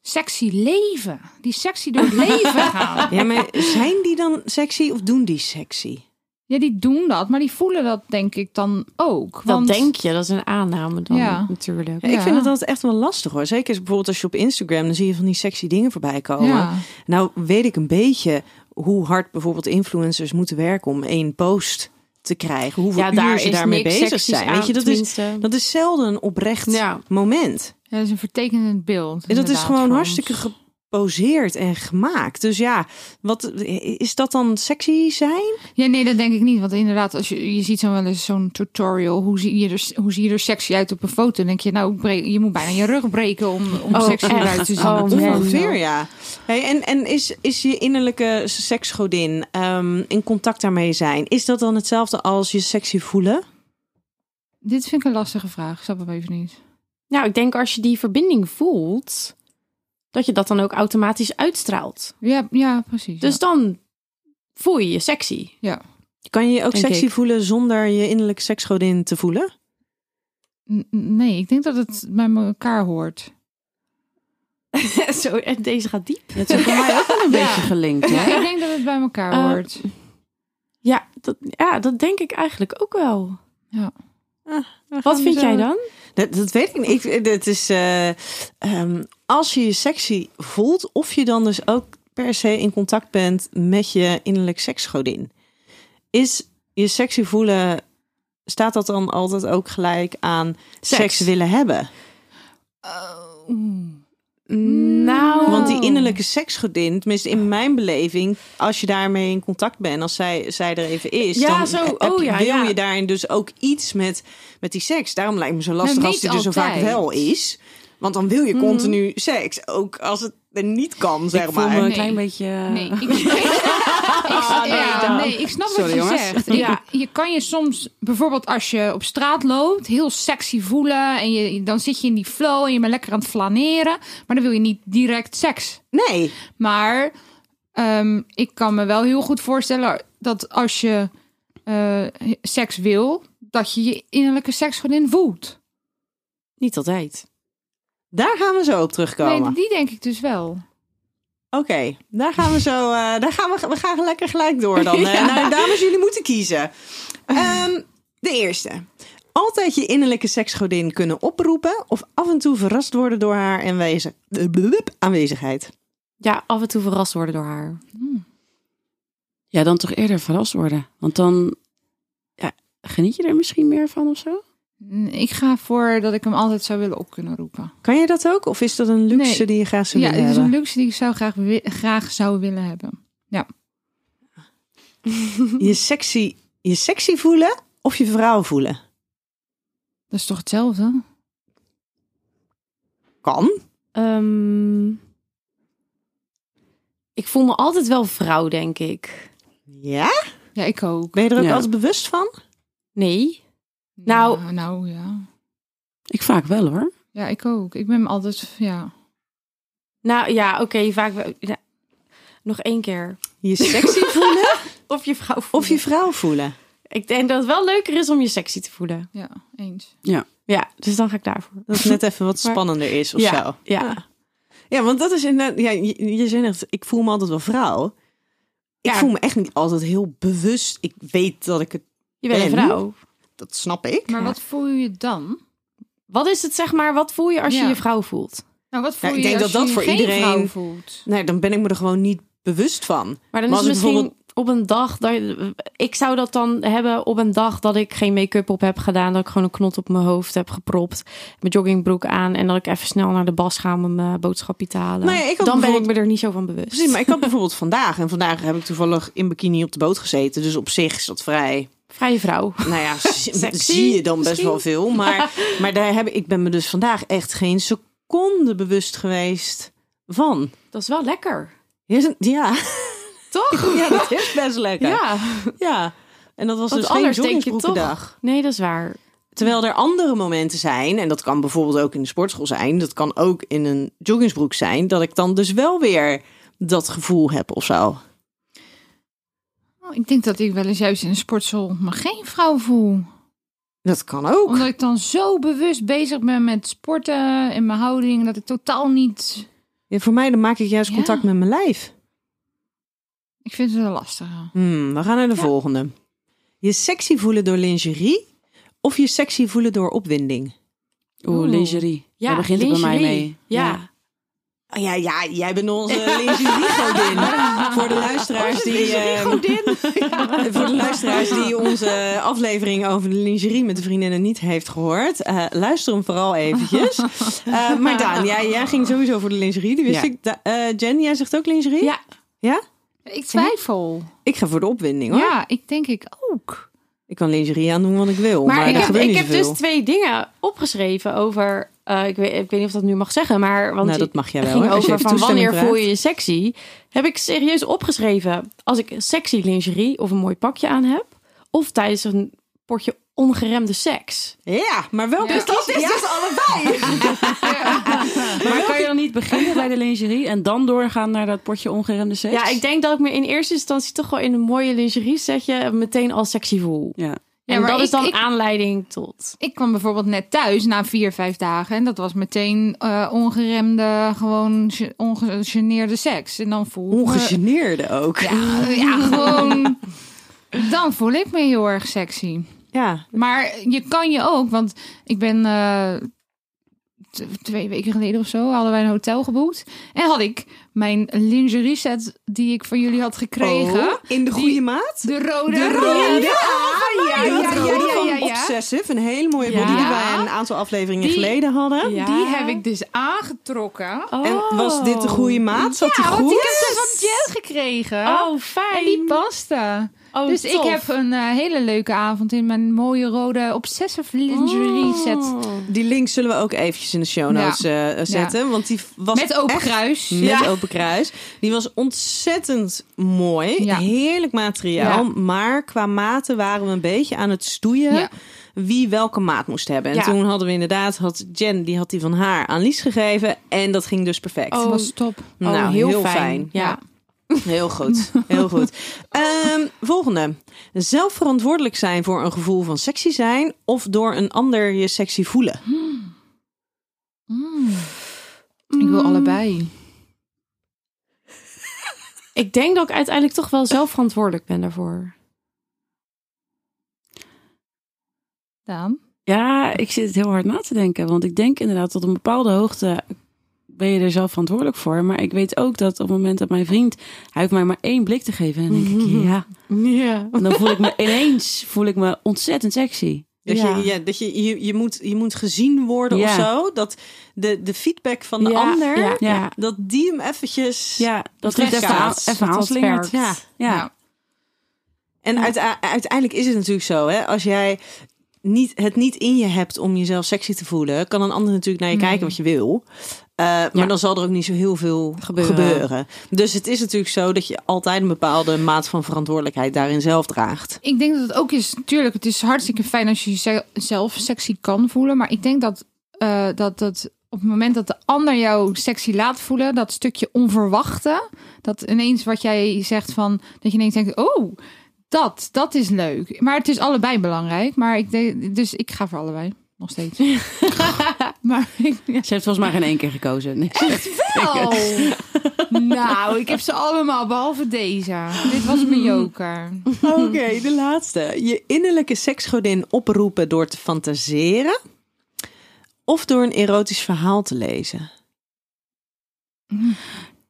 E: sexy leven. Die sexy door het leven gaan.
C: Ja, maar zijn die dan sexy of doen die sexy?
E: Ja, die doen dat, maar die voelen dat denk ik dan ook.
D: Dat
E: Want
D: denk je, dat is een aanname dan
E: Ja.
D: natuurlijk.
C: Ja, Ik
E: Ja.
C: vind dat altijd echt wel lastig hoor. Zeker als- bijvoorbeeld als je op Instagram, dan zie je van die sexy dingen voorbij komen.
E: Ja.
C: Nou weet ik een beetje hoe hard bijvoorbeeld influencers moeten werken om één post te krijgen. Hoeveel
D: Ja,
C: uur
D: daar
C: ze
D: is
C: daarmee
D: niks
C: bezig
D: seksies
C: zijn.
D: aan,
C: Weet je, dat is,
D: tenminste.
C: dat is zelden een oprecht
D: Ja.
C: moment.
E: Ja, dat is een vertekenend beeld.
C: En dat is
E: inderdaad,
C: gewoon
E: voor ons.
C: hartstikke geposeerd en gemaakt. Dus ja, wat is dat dan sexy zijn?
E: Ja, nee, dat denk ik niet. Want inderdaad, als je, je ziet zo wel eens zo'n tutorial. Hoe zie, je er, hoe zie je er sexy uit op een foto? Dan denk je, nou, ik breek- je moet bijna je rug breken om, om
D: Oh,
E: sexy
D: echt?
E: eruit te zien.
D: Oh, man. Ja.
C: Ongeveer, ja. Hey, en en is, is je innerlijke seksgodin ehm, in contact daarmee zijn? Is dat dan hetzelfde als je sexy voelen?
E: Dit vind ik een lastige vraag. Ik snap hem even niet.
D: Nou, ik denk als je die verbinding voelt, dat je dat dan ook automatisch uitstraalt.
E: Ja, ja precies.
D: Dus
E: ja.
D: dan voel je je sexy.
C: Kan je je ook
D: Denk
C: sexy
D: ik.
C: voelen zonder je innerlijke seksgodin te voelen?
E: N- Nee, ik denk dat het bij elkaar hoort.
D: Zo, en deze gaat diep.
B: Het is voor mij ook wel een beetje gelinkt, hè?
E: Ja, ik denk dat het bij elkaar
D: Eh,
E: hoort.
D: Ja dat, ja, dat denk ik eigenlijk ook wel. Wat vind jij dan?
C: Dat, dat weet ik niet. Ik, dat is, eh, ehm, als je je sexy voelt, of je dan dus ook per se in contact bent met je innerlijk seksgodin. Is je sexy voelen, staat dat dan altijd ook gelijk aan seks,
D: Seks.
C: willen hebben?
D: Nou,
C: Want die innerlijke seksgodin, tenminste
D: Ah.
C: in mijn beleving, als je daarmee in contact bent, als zij, zij er even is,
D: Ja,
C: dan
D: zo.
C: heb-
D: Oh, ja,
C: wil
D: ja.
C: je daarin dus ook iets met, met die seks. Daarom lijkt me zo lastig
E: Nou,
C: als die
E: niet
C: er zo vaak
E: altijd.
C: wel is. Want dan wil je
D: Mhm.
C: continu seks. Ook als het er niet kan, zeg
B: voel me
C: maar.
B: een
E: Nee.
B: klein beetje... eh, Ah,
E: Nee, ik, ik, ja, nee, ik snap
B: Sorry,
E: wat je
B: jongens.
E: zegt. Je-
D: Ja.
E: Je, kan je soms, bijvoorbeeld als je op straat loopt, heel sexy voelen. En je, dan zit je in die flow en je bent lekker aan het flaneren. Maar dan wil je niet direct seks.
C: Nee.
E: Maar ehm, ik kan me wel heel goed voorstellen dat als je eh, seks wil, dat je je innerlijke seksgodin voelt.
B: Niet altijd.
C: Daar gaan we zo op terugkomen.
E: Nee, die denk ik dus wel.
C: Oké, daar gaan we zo. eh, daar gaan we, we gaan lekker gelijk door dan. eh. Nou, dames, jullie moeten kiezen. Ehm, de eerste. Altijd je innerlijke seksgodin kunnen oproepen of af en toe verrast worden door haar aanwezig- blub, aanwezigheid.
D: Ja, af en toe verrast worden door haar.
B: Ja, dan toch eerder verrast worden. Want dan ja, geniet je er misschien meer van of zo.
E: Mm, Ik ga voor dat ik hem altijd zou willen op kunnen roepen.
C: Kan je dat ook? Of is dat een luxe
E: Nee.
C: die je graag zou
E: ja,
C: willen
E: dit is
C: hebben?
E: een luxe die ik zou graag, wi- graag zou willen hebben.
C: Je sexy, je sexy voelen of je vrouw voelen?
E: Dat is toch hetzelfde?
C: Kan.
D: Ehm, ik voel me altijd wel vrouw, denk ik.
C: Ja?
E: Ja, ik ook.
C: Ben je er ook
B: Ja.
C: altijd bewust van?
D: Nee. Nou-
E: Ja, nou ja.
B: Ik vaak wel hoor.
E: Ja, ik ook. Ik ben altijd, ja.
D: Nou ja, oké, vaak wel. ja. Nog één keer.
C: Je sexy voelen
D: Of je vrouw voelen.
C: of je vrouw voelen?
D: Ik denk dat het wel leuker is om je sexy te voelen.
E: Ja, eens.
D: Ja, dus dan ga ik daarvoor. Ah.
C: Dat het net even wat
D: Maar-
C: spannender is of
D: ja,
C: zo.
D: ja.
C: Ja, want dat is inderdaad. Ja, je, je zegt echt, ik voel me altijd wel vrouw. Ik
D: Ja.
C: voel me echt niet altijd heel bewust. Ik weet dat ik het.
D: Je bent een
C: Ben?
D: vrouw.
C: Dat snap ik.
E: Maar wat voel je dan?
D: Wat is het, zeg maar, wat voel je als je
E: Ja.
D: je vrouw voelt?
E: Nou, wat voel
C: Ja,
E: je
C: ik denk
E: als
C: dat dat
E: je
C: voor
E: geen
C: iedereen-
E: vrouw voelt?
C: Nee, dan ben ik me er gewoon niet bewust van.
D: Maar dan
C: Maar
D: is het
C: als ik
D: misschien op een dag... Dat, ik zou dat dan hebben op een dag dat ik geen make-up op heb gedaan. Dat ik gewoon een knot op mijn hoofd heb gepropt. Mijn joggingbroek aan. En dat ik even snel naar de bas ga om mijn boodschapje te halen.
C: Nou ja, ik
D: dan
C: had
D: ben ik me
C: bijvoorbeeld-
D: er niet zo van bewust.
C: Precies, maar ik had bijvoorbeeld vandaag. En vandaag heb ik toevallig in bikini op de boot gezeten. Dus op zich is dat vrij.
D: Vrije vrouw.
C: Nou ja, zie-
D: Sexy,
C: zie je dan best
D: misschien.
C: wel veel. Maar, maar daar heb ik, ik ben me dus vandaag echt geen seconde bewust geweest van.
D: Dat is wel lekker.
C: Hier is een- Ja,
D: Toch?
C: ja dat is best lekker. Ja.
D: Ja.
C: En dat was
D: Want
C: dus geen
D: anders denk je toch-
C: joggingbroekendag.
D: Nee, dat is waar.
C: Terwijl er andere momenten zijn, en dat kan bijvoorbeeld ook in de sportschool zijn, dat kan ook in een joggingsbroek zijn, dat ik dan dus wel weer dat gevoel heb of zo.
E: Oh, ik denk dat ik wel eens juist in een sportschool me geen vrouw voel.
C: Dat kan ook.
E: Omdat ik dan zo bewust bezig ben met sporten en mijn houding. Dat ik totaal niet...
C: Ja, voor mij dan maak ik juist
E: Ja.
C: contact met mijn lijf.
E: Ik vind het wel lastig.
C: Hmm, we gaan naar de volgende. Je sexy voelen door lingerie of je sexy voelen door opwinding?
B: Oeh,
D: Oeh.
B: lingerie. Daar begint het bij mij
D: lingerie.
B: mee.
D: Ja.
C: Oh, ja, ja, jij bent onze lingerie-godin. voor de
E: Oh,
C: luisteraars die... ehm, Eh, Voor de luisteraars die onze aflevering over de lingerie met de vriendinnen niet heeft gehoord, eh, luister hem vooral eventjes. Eh, maar Daan, jij, jij ging sowieso voor de lingerie, die wist
B: Ja.
C: ik. Da- eh, Jen, jij zegt ook lingerie?
D: Ja.
C: Ja?
E: Ik twijfel.
C: Ik ga voor de opwinding hoor.
E: Ja, ik denk ik ook.
C: Ik kan lingerie aandoen wat ik wil, maar,
D: Maar ik
C: dat
D: heb,
C: gebeurt
D: ik
C: niet
D: heb
C: zoveel.
D: dus twee dingen opgeschreven over. eh, ik, weet, ik weet niet of dat nu mag zeggen, maar. Want
C: Nou, dat
D: je-
C: mag jij wel,
D: ging
C: hè, als je
D: over
C: even
D: van
C: toestemming
D: wanneer voel je
C: vraagt.
D: je sexy. Heb ik serieus opgeschreven. Als ik sexy lingerie of een mooi pakje aan heb. Of tijdens een potje ongeremde seks.
C: Ja, maar welke
E: Ja. Dus dat
C: is dus allebei.
B: Maar kan je dan niet beginnen bij de lingerie en dan doorgaan naar dat potje ongeremde seks?
D: Ja, ik denk dat ik me in eerste instantie toch wel in een mooie lingerie setje meteen al sexy voel.
B: Ja.
E: Ja,
D: en
E: maar
D: dat
E: ik-
D: is dan
E: ik-
D: aanleiding tot.
E: Ik kwam bijvoorbeeld net thuis na vier, vijf dagen. En dat was meteen eh, ongeremde, gewoon ge- ongegeneerde seks. En dan voel ik me...
C: Ongegeneerde ook. Ja.
E: Ja, ja, gewoon... Dan voel ik me heel erg sexy. Maar je kan je ook, want ik ben eh, t- twee weken geleden of zo hadden wij een hotel geboekt en had ik mijn lingerie set die ik van jullie had gekregen,
C: Oh, in de goede maat.
E: de rode,
C: De
E: rode,
C: rode. Ja, ja,
E: ja, ja,
C: rode
E: ja,
C: van
E: ja, ja.
C: Obsessive, een hele mooie
D: Ja.
C: body die wij een aantal afleveringen
E: Die-
C: geleden hadden.
D: Ja. Oh,
E: die heb ik dus aangetrokken.
C: En was dit de goede maat? Zat die
E: Oh. ja, want
C: goed?
E: ik heb dus van Jen gekregen
D: Oh,
E: en
D: fijn.
E: die paste.
D: Oh,
E: dus
D: tof.
E: ik heb een eh, hele leuke avond in mijn mooie rode obsessive
D: Oh.
E: lingerie set.
C: Die link zullen we ook eventjes in de show notes eh, zetten. Want die was
E: Met open
C: echt-
E: kruis.
C: Met open kruis. Die was ontzettend mooi.
E: Ja.
C: Heerlijk materiaal.
E: Ja.
C: Maar qua maten waren we een beetje aan het stoeien.
E: Ja.
C: Wie welke maat moest hebben. En
D: Ja.
C: toen hadden we inderdaad, had Jen die, had die van haar aan Lies gegeven. En dat ging dus perfect.
D: Oh,
E: was top.
C: nou, heel, fijn.
D: Ja.
C: Heel goed. Heel goed. Ehm, volgende. Zelf verantwoordelijk zijn voor een gevoel van sexy zijn. Of door een ander je sexy voelen.
D: Hm,
E: Ik
D: Mm.
E: wil allebei.
D: Ik denk dat ik uiteindelijk toch wel zelf verantwoordelijk ben daarvoor.
E: Daan?
B: Ja, ik zit heel hard na te denken. Want ik denk inderdaad tot een bepaalde hoogte ben je er zelf verantwoordelijk voor. Maar ik weet ook dat op het moment dat mijn vriend... Hij hoeft mij maar één blik te geven. En dan denk ik, ja.
D: Ja.
B: En dan voel ik me ineens voel ik me ontzettend sexy.
C: Dat,
D: Ja.
C: je, ja, dat je, je, je, moet, je moet gezien worden of
B: Ja.
C: zo. Dat de, de feedback van de
D: Ja,
C: ander,
D: ja,
B: ja.
C: dat die hem eventjes...
B: Ja, dat
C: Terecht
B: het even, aan-
C: kaats,
B: even
D: dat dat
B: aanslingert.
C: Ja.
B: Ja.
E: Nou,
C: En uite- uiteindelijk is het natuurlijk zo, hè, als jij niet, het niet in je hebt om jezelf sexy te voelen, kan een ander natuurlijk naar je kijken wat je wil. Eh, maar
D: Ja.
C: dan zal er ook niet zo heel veel gebeuren.
D: Gebeuren.
C: Dus het is natuurlijk zo dat je altijd een bepaalde maat van verantwoordelijkheid daarin zelf draagt.
E: ik denk dat het ook is, natuurlijk, het is hartstikke fijn als je jezelf sexy kan voelen. Maar ik denk dat, eh, dat, dat op het moment dat de ander jou sexy laat voelen, dat stukje onverwachte, dat ineens wat jij zegt van, dat je ineens denkt, oh, dat, dat is leuk. Maar het is allebei belangrijk. Maar ik denk, dus ik ga voor allebei. Nog steeds. maar ik, ja.
B: Ze heeft volgens mij geen één keer gekozen. Nee.
E: Oh. nou, ik heb ze allemaal, behalve deze. Dit was mijn joker.
C: Oké, de laatste. Je innerlijke seksgodin oproepen door te fantaseren of door een erotisch verhaal te lezen.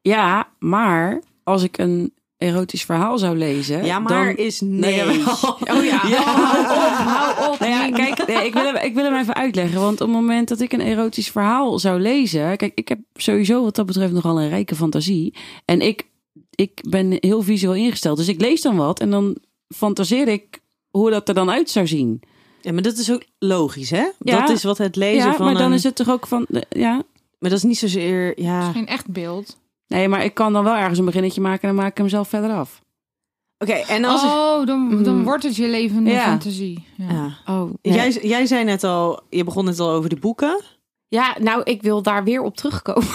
B: Ja, maar als ik een erotisch verhaal zou lezen...
C: Ja, maar
B: dan-
C: is nee.
B: Nee,
C: Oh ja.
B: Nou ja, kijk, nee, ik, wil hem, ik wil hem even uitleggen. Want op het moment dat ik een erotisch verhaal zou lezen. Kijk, ik heb sowieso wat dat betreft nogal een rijke fantasie. En ik, ik ben heel visueel ingesteld. Dus ik lees dan wat en dan fantaseer ik hoe dat er dan uit zou zien.
C: Ja, maar dat is ook logisch, hè?
B: Ja.
C: Dat is wat het lezen
B: Ja,
C: van
B: maar dan
C: een-
B: is het toch ook van. Ja.
C: Maar dat is niet zozeer... Ja. Oké,
E: Geen echt beeld.
B: Nee, maar ik kan dan wel ergens een beginnetje maken en dan maak ik hem zelf verder af.
C: en als... het-
E: Oh, dan, dan
D: Mm.
E: wordt het je levende
B: Ja.
E: fantasie. Ja.
C: Ja.
D: Oh,
C: Jij, jij zei net al... Je begon net al over de boeken.
D: Ja, nou, ik wil daar weer op terugkomen.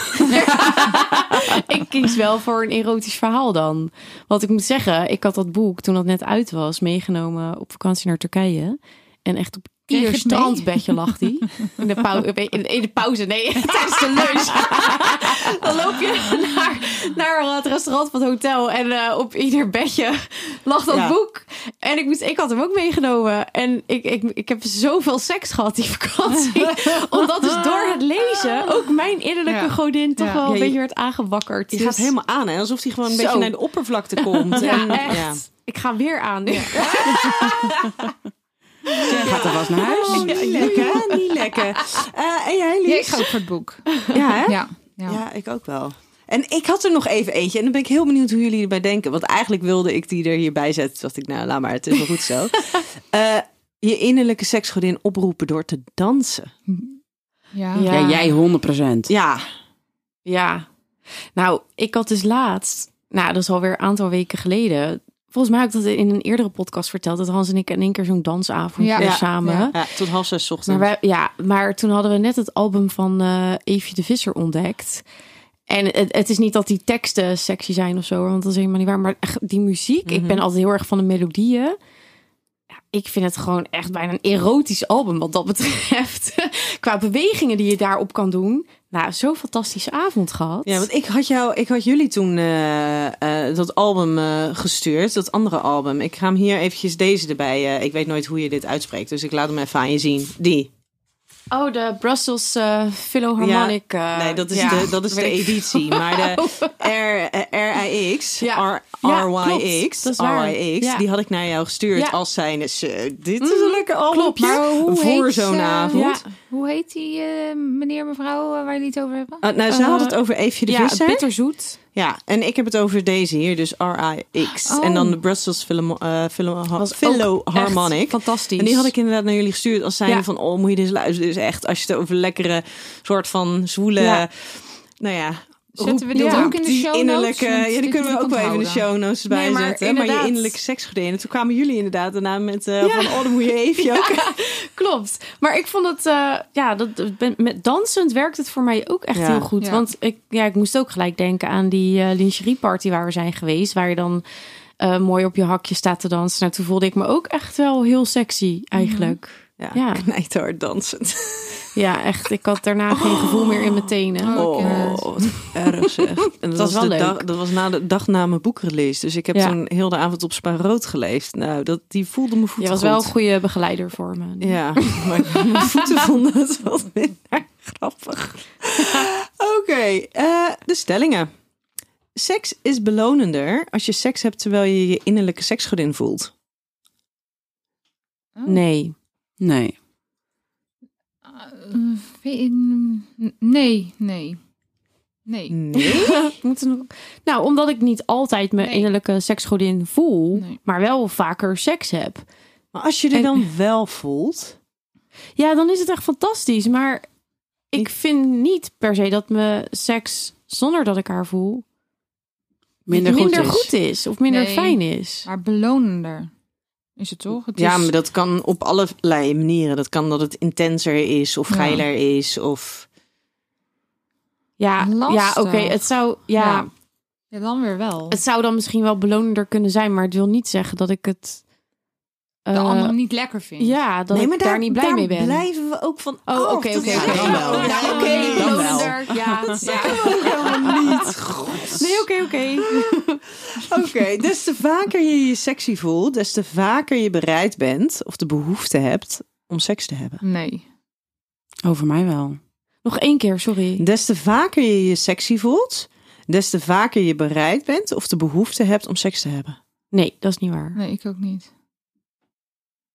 D: ik kies wel voor een erotisch verhaal dan. Want ik moet zeggen, ik had dat boek toen dat net uit was meegenomen op vakantie naar Turkije. En echt op
E: Kreeg
D: ieder
E: het
D: strandbedje lag die. In de, pau- in, in de pauze, nee, tijdens de lunch. Dan loop je naar, naar het restaurant van het hotel en eh, op ieder bedje lag dat
C: Ja.
D: boek. En ik, moest, ik had hem ook meegenomen. En ik, ik, ik heb zoveel seks gehad die vakantie. Omdat dus door het lezen ook mijn innerlijke
E: Ja.
D: godin toch
E: Ja.
D: wel
C: Ja,
D: een
C: je-
D: beetje werd aangewakkerd.
C: Je
D: Dus-
C: gaat helemaal aan, hè? Alsof die gewoon een
D: Zo.
C: beetje naar de oppervlakte komt.
D: Ja,
C: En-
D: echt.
C: ja.
D: Ik ga weer aan.
B: Zij gaat er vast naar huis.
C: Oh, niet lekker, hè? niet lekker. Eh, en jij,
E: Ja,
C: Lies?
E: ik ga ook voor het boek.
C: Ja, hè?
E: Ja. Ja.
C: Ja, ik ook wel. En ik had er nog even eentje. En dan ben ik heel benieuwd hoe jullie erbij denken. Want eigenlijk wilde ik die er hierbij zetten. Toen dacht ik, nou, laat maar. Het is wel goed zo. Eh, je innerlijke seksgodin oproepen door te dansen.
E: Ja.
D: Ja.
B: Ja, jij 100%.
C: Ja.
D: Ja. Nou, ik had dus laatst, nou, dat is alweer een aantal weken geleden. Volgens mij heb ik dat in een eerdere podcast verteld. Dat Hans en ik in één keer zo'n dansavond
E: Ja.
D: weer
E: Ja.
D: samen.
E: Ja.
C: ja tot half zes 's
D: Maar
C: ochtends.
D: wij, ja, maar toen hadden we net het album van eh Eefje de Visser ontdekt. En het, het is niet dat die teksten sexy zijn of zo, hoor, want dat is helemaal niet waar. Maar echt die muziek, ik
C: Mhm.
D: ben altijd heel erg van de melodieën. Ja, ik vind het gewoon echt bijna een erotisch album wat dat betreft. Qua bewegingen die je daarop kan doen. Nou, zo'n fantastische avond gehad.
C: Ja, want ik had, jou, ik had jullie toen eh, eh, dat album eh, gestuurd, dat andere album. Ik ga hem hier eventjes deze erbij. eh, ik weet nooit hoe je dit uitspreekt, dus ik laat hem even aan je zien. Die.
D: Oh, de Brussels eh Philharmonic. eh,
C: nee, dat is
D: ja,
C: de, dat is de e-
D: weet ik
C: editie, maar de R, eh, RIX,
D: Ja.
C: R,
D: Ja,
C: RYX,
D: klopt. Dat is waar.
C: RYX,
D: Ja.
C: die had ik naar jou gestuurd
D: Ja. Mhm.
C: als zijnde. "Zo, Dit is een lekker album
D: Klopt.
E: Maar hoe
C: voor
E: heet
C: zo'n
E: ze?
C: avond.
D: Ja.
E: Hoe heet die eh, meneer, mevrouw eh, waar jullie het over hebben?
C: Ah, nou, ze
D: Eh,
C: had het over Eefje de
D: ja,
C: Visser.
D: bitterzoet.
C: Ja, en ik heb het over deze hier, dus RIX.
E: Oh.
C: En dan de Brussels Philo- eh, Philo- Philharmonic.
D: Echt Fantastisch.
C: En die had ik inderdaad naar jullie gestuurd als zijnde
D: Ja.
C: van... oh, moet je dit luisteren? Dus echt, als je het over lekkere, soort van zwoele...
D: Ja.
C: Nou ja,
E: Zetten we
C: roep-
E: dit
C: roep
E: ook in de
C: die
E: show notes?
C: innerlijke,
E: Want
C: Ja, die
E: dit
C: kunnen we
E: moet
C: ook wel even in de
E: onthouden.
C: show notes erbij
D: Nee, maar
C: zetten. Maar
D: inderdaad.
C: je innerlijke seksgordijnen. Toen kwamen jullie inderdaad daarna met eh,
D: Ja.
C: van... oh, dan moet je even ook.
D: Klopt. Maar ik vond het, eh, ja, dat, ben, met dansend werkt het voor mij ook echt
C: Ja.
D: heel goed.
E: Ja.
D: Want ik, ja, ik moest ook gelijk denken aan die eh lingerieparty waar we zijn geweest. Waar je dan eh, mooi op je hakje staat te dansen. Nou, toen voelde ik me ook echt wel heel sexy
E: Mhm.
D: eigenlijk.
C: Ja,
D: Ja.
C: knijterhard dansend.
D: Ja, echt. Ik had daarna geen gevoel meer in mijn tenen.
E: Oh,
C: Oh,
E: kennis.
C: wat erg zeg. En dat,
D: was wel
C: de
D: leuk.
C: Dag, dat was na de dag na mijn boekrelease. Dus ik heb
D: Ja.
C: toen heel de avond op Spa Rood geleefd. Nou, dat, die voelde mijn
D: Je
C: voeten
D: was wel een
C: goed.
D: goede begeleider voor me.
C: Ja, maar mijn voeten vonden het wat minder grappig. Oké, eh, de stellingen. Seks is belonender als je seks hebt terwijl je je innerlijke seksgodin voelt.
D: Nee.
B: Nee.
E: Eh, vind je- Nee, nee. Nee.
C: Nee.
D: Ik moet er nog- Nou, omdat ik niet altijd mijn
E: Nee.
D: innerlijke seksgodin voel,
E: Nee.
D: maar wel vaker seks heb.
C: Maar als je er
D: En-
C: dan wel voelt...
D: Ja, dan is het echt fantastisch. Maar ik vind niet per se dat mijn seks zonder dat ik haar voel
B: Minder, goed, is.
D: goed is of minder
E: Nee.
D: fijn is.
E: Maar belonender is het toch? Het
C: Ja,
E: is-
C: maar dat kan op allerlei manieren. Dat kan dat het intenser is of
E: Ja.
C: geiler is of...
D: Ja, ja
E: Lastig.
D: oké. Het zou ja,
E: Ja. Ja, dan weer wel.
D: het zou dan misschien wel belonender kunnen zijn, maar het wil niet zeggen dat ik het
E: De
D: eh,
E: ander hem niet lekker vindt.
D: ja, dat ik daar, niet blij
C: daar
D: mee ben.
C: blijven we ook van
D: Oh,
C: af. Dus
D: oké,
C: Dat
D: oké,
C: is
D: oké.
C: dan wel.
D: Ja,
C: Ja,
D: oké,
C: dan wel.
E: belonender. Ja,
D: Oh, Nee, oké, oké.
C: Oké, des te vaker je je sexy voelt, des te vaker je bereid bent of de behoefte hebt om seks te hebben.
E: Nee.
B: Over mij wel.
D: Nog één keer, sorry.
C: Des te vaker je je sexy voelt, des te vaker je bereid bent of de behoefte hebt om seks te hebben.
D: Nee, dat is niet waar.
E: Nee, ik ook niet.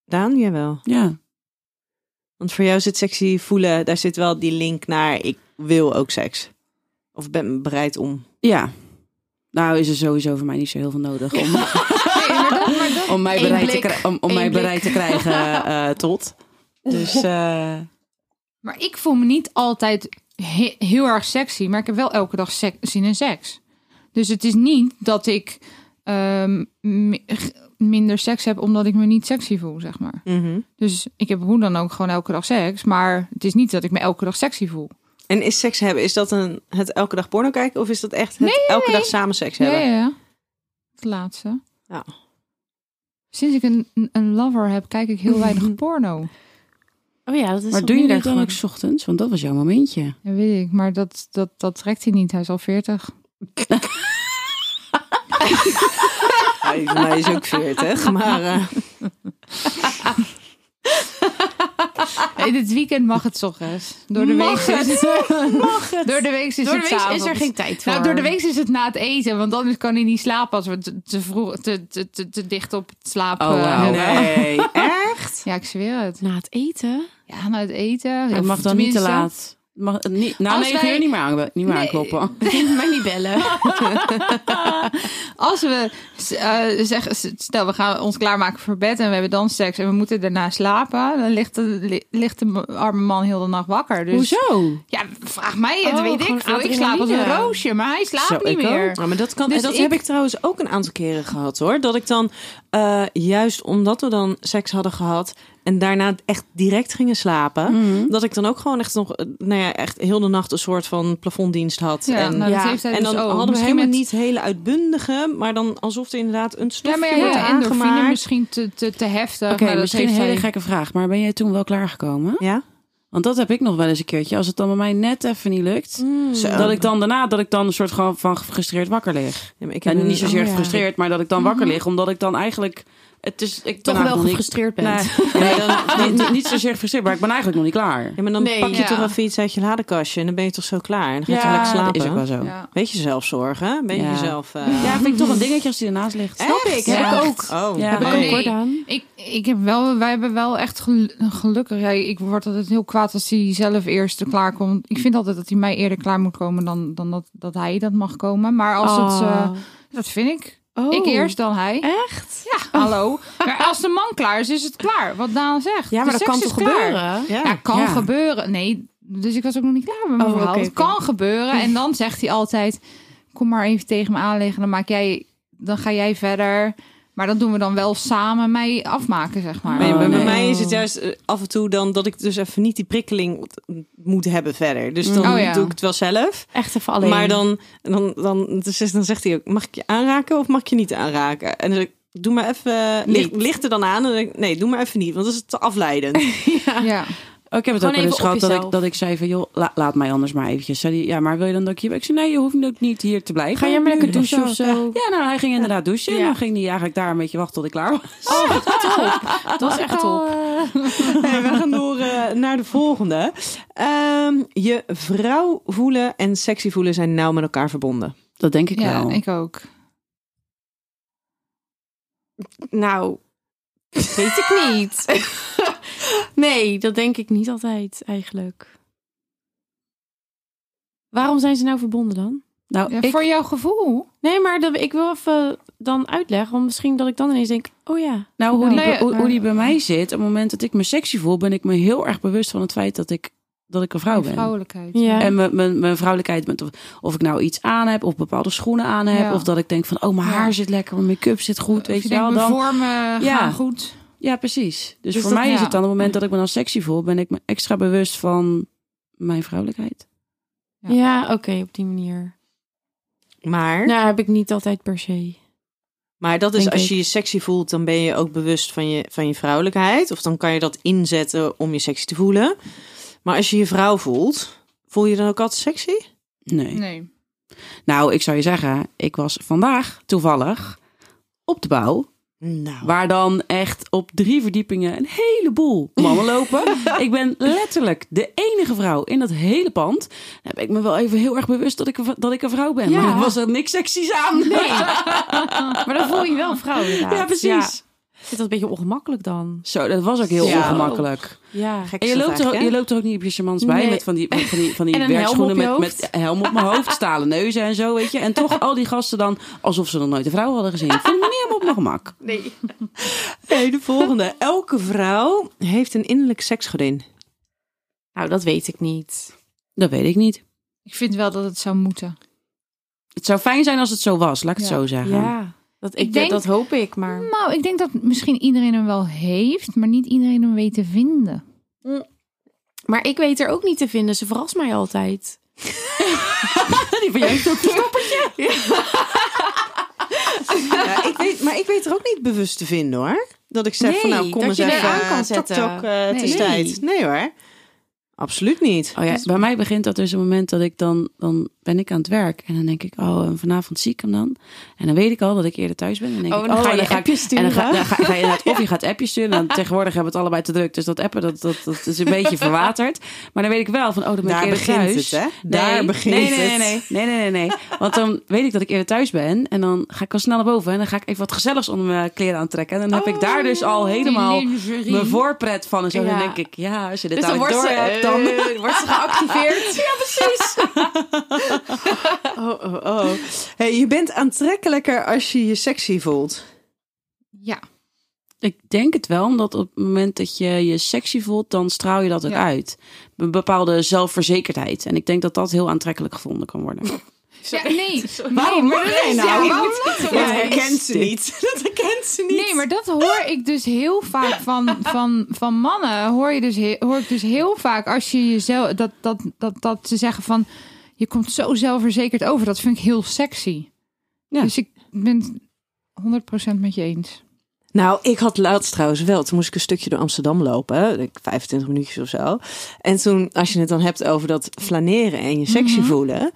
C: Daan, jawel.
B: Ja.
C: Want voor jou zit sexy voelen, daar zit wel die link naar ik wil ook seks. Of ben bereid om.
B: Ja. Nou is er sowieso voor mij niet zo heel veel nodig om,
E: Nee, maar dat, maar dat...
B: om mij,
D: Eén
B: bereid,
D: blik,
B: te, krij- om, om
D: één
B: mij
D: blik.
B: bereid te krijgen eh, tot. Dus eh,
E: Maar ik voel me niet altijd he- heel erg sexy, maar ik heb wel elke dag sek- zin in seks. Dus het is niet dat ik ehm, mi- g- minder seks heb omdat ik me niet sexy voel, zeg maar. Dus ik heb hoe dan ook gewoon elke dag seks, maar het is niet dat ik me elke dag sexy voel.
C: En is seks hebben, is dat een, het elke dag porno kijken of is dat echt het elke dag samen seks
E: Ja,
C: hebben?
E: ja, ja. Het laatste.
C: Ja.
E: Sinds ik een, een lover heb, kijk ik heel weinig porno.
D: Oh ja, dat is
B: maar
D: wat
B: doe je
D: minder
B: dat dan
D: gewoon.
B: ook 's ochtends? Want dat was jouw momentje.
E: Dat weet ik, maar dat, dat, dat trekt hij niet. Hij is al 40.
C: Hij voor mij is ook 40, maar eh,
E: Hey, dit weekend mag het 's ochtends. Door de
D: Mag
E: week is Door de week is
D: Door de week
E: het
D: is er
E: s'avonds.
D: geen tijd voor.
E: Nou, door de week is het na het eten, want anders kan hij niet slapen als we te, te vroeg, te, te, te, te dicht op het slapen.
B: Oh, wauw.
E: hebben.
C: nee, echt?
E: Ja, ik zweer het.
D: Na het eten?
E: Ja, na het eten.
B: Het
E: Of
B: mag dan niet te
E: tenminste-
B: laat. Het Mag, het niet, Nou, na
E: Als
B: negen
E: wij-
B: uur niet meer, aan, niet meer
E: Nee.
B: aankloppen.
D: Mij niet bellen.
E: Als we eh, zeggen, stel we gaan ons klaarmaken voor bed en we hebben dan seks en we moeten daarna slapen, dan ligt de, li- ligt de arme man heel de nacht wakker. Dus,
B: Hoezo?
E: Ja, vraag mij het,
D: Oh,
E: weet
D: gewoon
E: ik veel. Ik slaap als een
D: adrenaline.
E: roosje, maar hij slaapt niet
C: ik ook.
E: meer.
C: Ja, maar dat kan,
E: Dus
C: en dat
E: ik-
C: heb ik trouwens ook een aantal keren gehad hoor. Dat ik dan, eh, juist omdat we dan seks hadden gehad en daarna echt direct gingen slapen,
E: Mhm.
C: dat ik dan ook gewoon echt nog, eh, nou ja, echt heel de nacht een soort van plafonddienst had.
E: Ja,
C: en,
E: nou, dat
D: ja.
E: heeft hij
C: en
E: dus
C: dan
E: ook.
C: hadden we
E: Bij hem
C: helemaal
E: het-
C: niet hele uitbundige, maar dan alsof er inderdaad een
E: Ja,
C: stofje
E: maar ja,
C: wordt
E: ja, endorfine
C: aangemaakt.
E: misschien te, te, te heftig.
B: Oké,
E: maar dat
B: misschien een
E: heeft
B: hele
E: hij-
B: gekke vraag. Maar ben jij toen wel klaargekomen?
C: Ja?
B: Want dat heb ik nog wel eens een keertje. Als het dan bij mij net even niet lukt.
E: Hmm.
C: Zo.
B: Dat ik dan daarna, dat ik dan een soort gewoon van gefrustreerd wakker lig.
C: Ja, maar ik
B: En
C: heb een-
B: niet zozeer
D: oh ja.
B: gefrustreerd, maar dat ik dan wakker lig. Omdat ik dan eigenlijk het is, ik ben
D: Toch wel
B: eigenlijk nog niet-
D: gefrustreerd bent.
B: Nee, nee, dan, niet, niet- niet zozeer gefrustreerd, maar ik ben eigenlijk nog niet klaar.
C: Ja, maar dan
D: Nee,
C: pak je
E: ja.
C: toch even iets uit je ladenkastje en dan ben je toch zo klaar. En dan ga je
B: Ja,
C: toch lekker slapen.
B: dat is ook wel zo.
E: Ja.
C: Beetje zelfzorg, hè? Beetje
B: Ja.
C: jezelf... eh,
B: Ja, vind ik toch een dingetje als die ernaast ligt.
C: Snap ik,
E: heb ik ook.
C: Oh,
B: Ja.
C: ja.
B: Heb
D: Heb ik
E: Nee.
D: ook hoor, Daan.
E: Ik, ik heb wel, wij hebben wel echt gel- gelukkig. Ja, ik word altijd heel kwaad als hij zelf eerst klaar komt. Ik vind altijd dat hij mij eerder klaar moet komen dan, dan dat, dat hij dat mag komen. Maar als het, eh, dat vind ik.
D: Oh.
E: Ik eerst dan hij.
D: Echt?
E: Ja, hallo. Maar als de man klaar is, is het klaar. Wat Daan zegt.
D: Ja,
E: De
D: maar dat
E: seks
D: kan
E: is
D: toch
E: klaar.
D: gebeuren?
C: Ja.
E: Oh, Ja, kan
B: Ja.
E: gebeuren. Nee, dus ik was ook nog niet klaar met mijn
D: Oh,
E: verhaal.
D: oké,
E: het
D: oké.
E: kan gebeuren. En dan zegt hij altijd: kom maar even tegen me aanleggen. Dan maak jij, dan ga jij verder. Maar dat doen we dan wel samen mee afmaken, zeg maar.
C: Nee,
B: Oh,
C: maar
B: nee.
C: bij mij is het juist eh, af en toe dan dat ik dus even niet die prikkeling moet hebben verder. Dus dan
E: Oh, ja.
C: doe ik het wel zelf.
D: Echt even alleen.
C: Maar dan, dan, dan, dus is- dan zegt hij ook, mag ik je aanraken of mag ik je niet aanraken? En dan zeg ik, doe maar even, licht,
D: Niet.
C: licht er dan aan. En dan denk ik, nee, doe maar even niet, want dat is te afleidend.
E: Ja.
B: Oh, ik heb het
D: Gewoon
B: ook wel eens
D: even op
B: gehad dat ik,
D: jezelf.
B: dat ik zei van... joh, la- laat mij anders maar eventjes. Zei die, ja, maar wil je dan dat ik hier... Ik zei, nee, je hoeft ook niet hier te blijven.
D: Ga jij maar lekker
B: Nu of
D: douchen of zo?
B: Ja, nou, hij ging inderdaad douchen. En
D: Ja.
B: dan ging hij eigenlijk daar een beetje wachten tot ik klaar was.
D: Oh, Dat was echt top.
C: Nee, we gaan door eh, naar de volgende. Ehm, je vrouw voelen en sexy voelen zijn nauw met elkaar verbonden.
B: Dat denk ik
E: ja,
B: wel.
E: ik ook.
D: Nou, weet ik niet. nee, dat denk ik niet altijd eigenlijk. Waarom zijn ze nou verbonden dan?
B: nou,
E: Ja,
B: ik,
E: Voor jouw gevoel.
D: Nee, maar dat, ik wil even dan uitleggen. Want misschien dat ik dan ineens denk, oh ja.
B: nou hoe, die,
E: Nee,
B: bij- hoe,
E: maar-
B: hoe die bij mij zit... op het moment dat ik me sexy voel... ben ik me heel erg bewust van het feit dat ik, dat ik een vrouw
E: Je
B: ben.
E: vrouwelijkheid.
D: Ja.
B: En mijn- mijn mijn vrouwelijkheid, met of, of ik nou iets aan heb, of bepaalde schoenen aan heb,
E: Ja.
B: of dat ik denk van, oh, mijn
E: Ja.
B: haar zit lekker, mijn make-up zit goed,
E: Of
B: weet je
E: je denkt,
B: wel.
E: mijn
B: Dan,
E: vormen
B: Ja.
E: gaan goed.
B: ja, precies. Dus,
E: Dus
B: voor
E: dat-
B: mij is
E: ja.
B: het dan op het moment dat ik me dan sexy voel, ben ik me extra bewust van mijn vrouwelijkheid.
E: Ja.
D: Ja, oké, op die manier.
C: Maar,
D: Nou, heb ik niet altijd per se.
C: maar dat is
D: denk
C: als
D: ik.
C: je je sexy voelt, dan ben je ook bewust van je, van je vrouwelijkheid. Of dan kan je dat inzetten om je sexy te voelen. Maar als je je vrouw voelt, voel je dan ook altijd sexy?
B: Nee.
E: Nee.
B: Nou, ik zou je zeggen, ik was vandaag toevallig op de bouw,
C: Nou,
B: waar dan echt op drie verdiepingen een heleboel mannen lopen. ik ben letterlijk de enige vrouw in dat hele pand. Dan ben ik me wel even heel erg bewust dat ik een, v- dat ik een vrouw ben.
D: Ja.
B: Maar was er niks seksies aan.
D: Nee. maar dan voel je wel een vrouw inderdaad.
B: Ja, precies.
D: Ik vind dat een beetje ongemakkelijk dan.
B: Zo, dat was ook heel
C: Ja.
B: ongemakkelijk.
D: Ja.
C: gek
B: En je
C: is dat
B: loopt, er,
C: eigenlijk,
B: je
C: hè?
B: loopt er ook niet op je charmants bij
D: Nee.
B: met van die, met van die, van
D: En
B: die
D: een helm
B: werkschoenen
D: op je
B: met, met helm op mijn hoofd, stalen neuzen en zo, weet je. En toch al die gasten dan alsof ze nog nooit een vrouw hadden gezien. Ik vond me niet helemaal op mijn gemak.
D: Nee.
C: Oké, de volgende. Elke vrouw heeft een innerlijk seksgodin.
D: Nou, dat weet ik niet.
B: Dat weet ik niet.
E: Ik vind wel dat het zou moeten.
B: Het zou fijn zijn als het zo was, laat ik het
E: Ja.
B: zo zeggen.
D: Ja. Dat, ik,
E: Ik denk-
D: dat hoop ik, maar...
E: Nou, ik denk dat misschien iedereen hem wel heeft, maar niet iedereen hem weet te vinden.
D: Maar ik weet er ook niet te vinden. Ze verrast mij altijd.
B: Die van jou heeft ook
C: Ja, ik weet, maar ik weet er ook niet bewust te vinden hoor. Dat ik zeg van
D: Nee,
C: nou kom
D: dat
C: eens
D: je
C: even
D: eraan kan
C: eh,
D: zetten.
C: Tok, tok, eh, het is
E: Nee.
C: tijd. Nee hoor. Absoluut niet.
B: Oh ja, bij mij begint dat dus op het moment dat ik dan, dan ben ik aan het werk. En dan denk ik, oh, en vanavond zie ik hem dan. En dan weet ik al dat ik eerder thuis ben. En dan denk
D: Oh,
B: ik,
D: en dan ga je
B: ik-
D: appjes
B: En dan ga,
D: sturen.
B: dan ga, ga je inderdaad- of je gaat appjes sturen. Dan tegenwoordig hebben we het allebei te druk. Dus dat appen, dat, dat, dat is een beetje verwaterd. Maar dan weet ik wel van, oh, dan ben
C: Daar
B: ik eerder
C: begint
B: thuis.
C: het, hè? Daar begint
B: nee, nee, nee,
C: het.
B: Nee, nee, nee, nee, nee. Want dan weet ik dat ik eerder thuis ben. En dan ga ik al snel naar boven. En dan ga ik even wat gezelligs onder mijn kleren aantrekken. En dan heb ik daar dus al helemaal
E: Die lingerie.
B: mijn voorpret van. En zo dan
D: Oh, Ja.
B: denk ik, ja, als je dit
D: Dus dan
B: dadelijk
D: wordt
B: door
D: ze,
B: hebt, dan...
D: eh, wordt ze geactiveerd. ja, precies.
C: Oh, oh, oh. Hey, je bent aantrekkelijker als je je sexy voelt.
E: Ja.
B: Ik denk het wel, omdat op het moment dat je je sexy voelt, dan straal je dat ook
E: Ja.
B: uit. Een bepaalde zelfverzekerdheid. En ik denk dat dat heel aantrekkelijk gevonden kan worden.
E: Ja, nee.
C: Waarom
E: nee, maar
C: mag
E: dat
C: jij
E: is-
C: nou?
E: ja,
C: Ik
E: waarom mag
C: Dat
E: jij?
C: herkent ze niet. Dat herkent ze niet.
E: Nee, maar dat hoor ik dus heel vaak van, van, van mannen. Hoor, je dus, he- hoor ik dus heel vaak als je jezelf. Dat, dat, dat, dat ze zeggen van. Je komt zo zelfverzekerd over. Dat vind ik heel sexy.
B: Ja.
E: Dus ik ben het 100% met je eens.
C: Nou, ik had laatst trouwens wel. Toen moest ik een stukje door Amsterdam lopen. denk 25 minuutjes of zo. En toen, als je het dan hebt over dat flaneren en je sexy
E: Mhm.
C: voelen.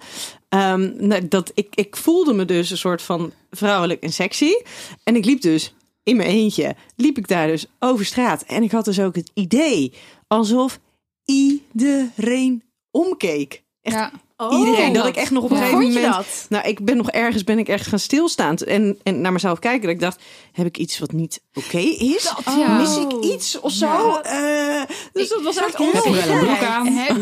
C: ehm, nou, dat, ik, ik voelde me dus een soort van vrouwelijk en sexy. En ik liep dus in mijn eentje liep ik daar dus over straat. En ik had dus ook het idee alsof iedereen omkeek. Echt
E: Ja.
C: iedereen. Dat ik echt nog op een
E: Ja.
C: gegeven
D: Vond je
C: moment...
D: dat?
C: Nou, ik ben nog ergens ben ik echt gaan stilstaan en, en naar mezelf kijken. Dat ik dacht, heb ik iets wat niet oké is?
E: ja.
C: Mis ik iets of zo? Eh, dus dat was echt heel
B: heb je wel een
C: erg.
B: broek aan?
E: Heb,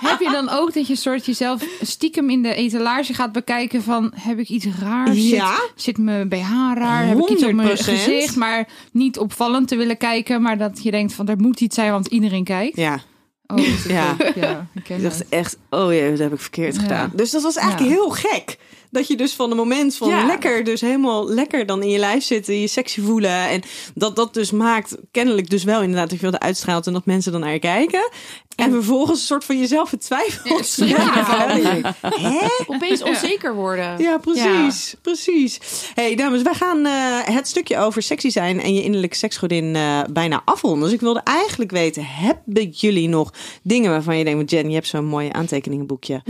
E: heb je dan ook dat je soort jezelf stiekem in de etalage gaat bekijken van heb ik iets raars?
C: Ja.
E: Zit, zit mijn BH raar? Heb ik iets op mijn
C: 100%.
E: gezicht? Maar niet opvallend te willen kijken, maar dat je denkt van er moet iets zijn, want iedereen kijkt.
C: Ja,
E: Oh, is het
C: Ja.
E: ook? ja ik ken
C: ik
E: het.
C: dacht echt, oh jee, dat heb ik verkeerd
E: Ja.
C: gedaan. Dus dat was eigenlijk
E: Ja.
C: heel gek. Dat je dus van het moment van
D: Ja.
C: lekker, dus helemaal lekker dan in je lijf zitten, je sexy voelen. En dat dat dus maakt kennelijk dus wel inderdaad dat je wilde uitstraalt en dat mensen dan naar je kijken. En vervolgens een soort van jezelf in twijfel. Ja, Hè?
D: Opeens onzeker worden.
C: Ja, precies. Precies. hey, dames, wij gaan eh, het stukje over sexy zijn en je innerlijke seksgodin eh, bijna afronden. Dus ik wilde eigenlijk weten, hebben jullie nog dingen waarvan je denkt, "Want Jen, je hebt zo'n mooie aantekeningenboekje.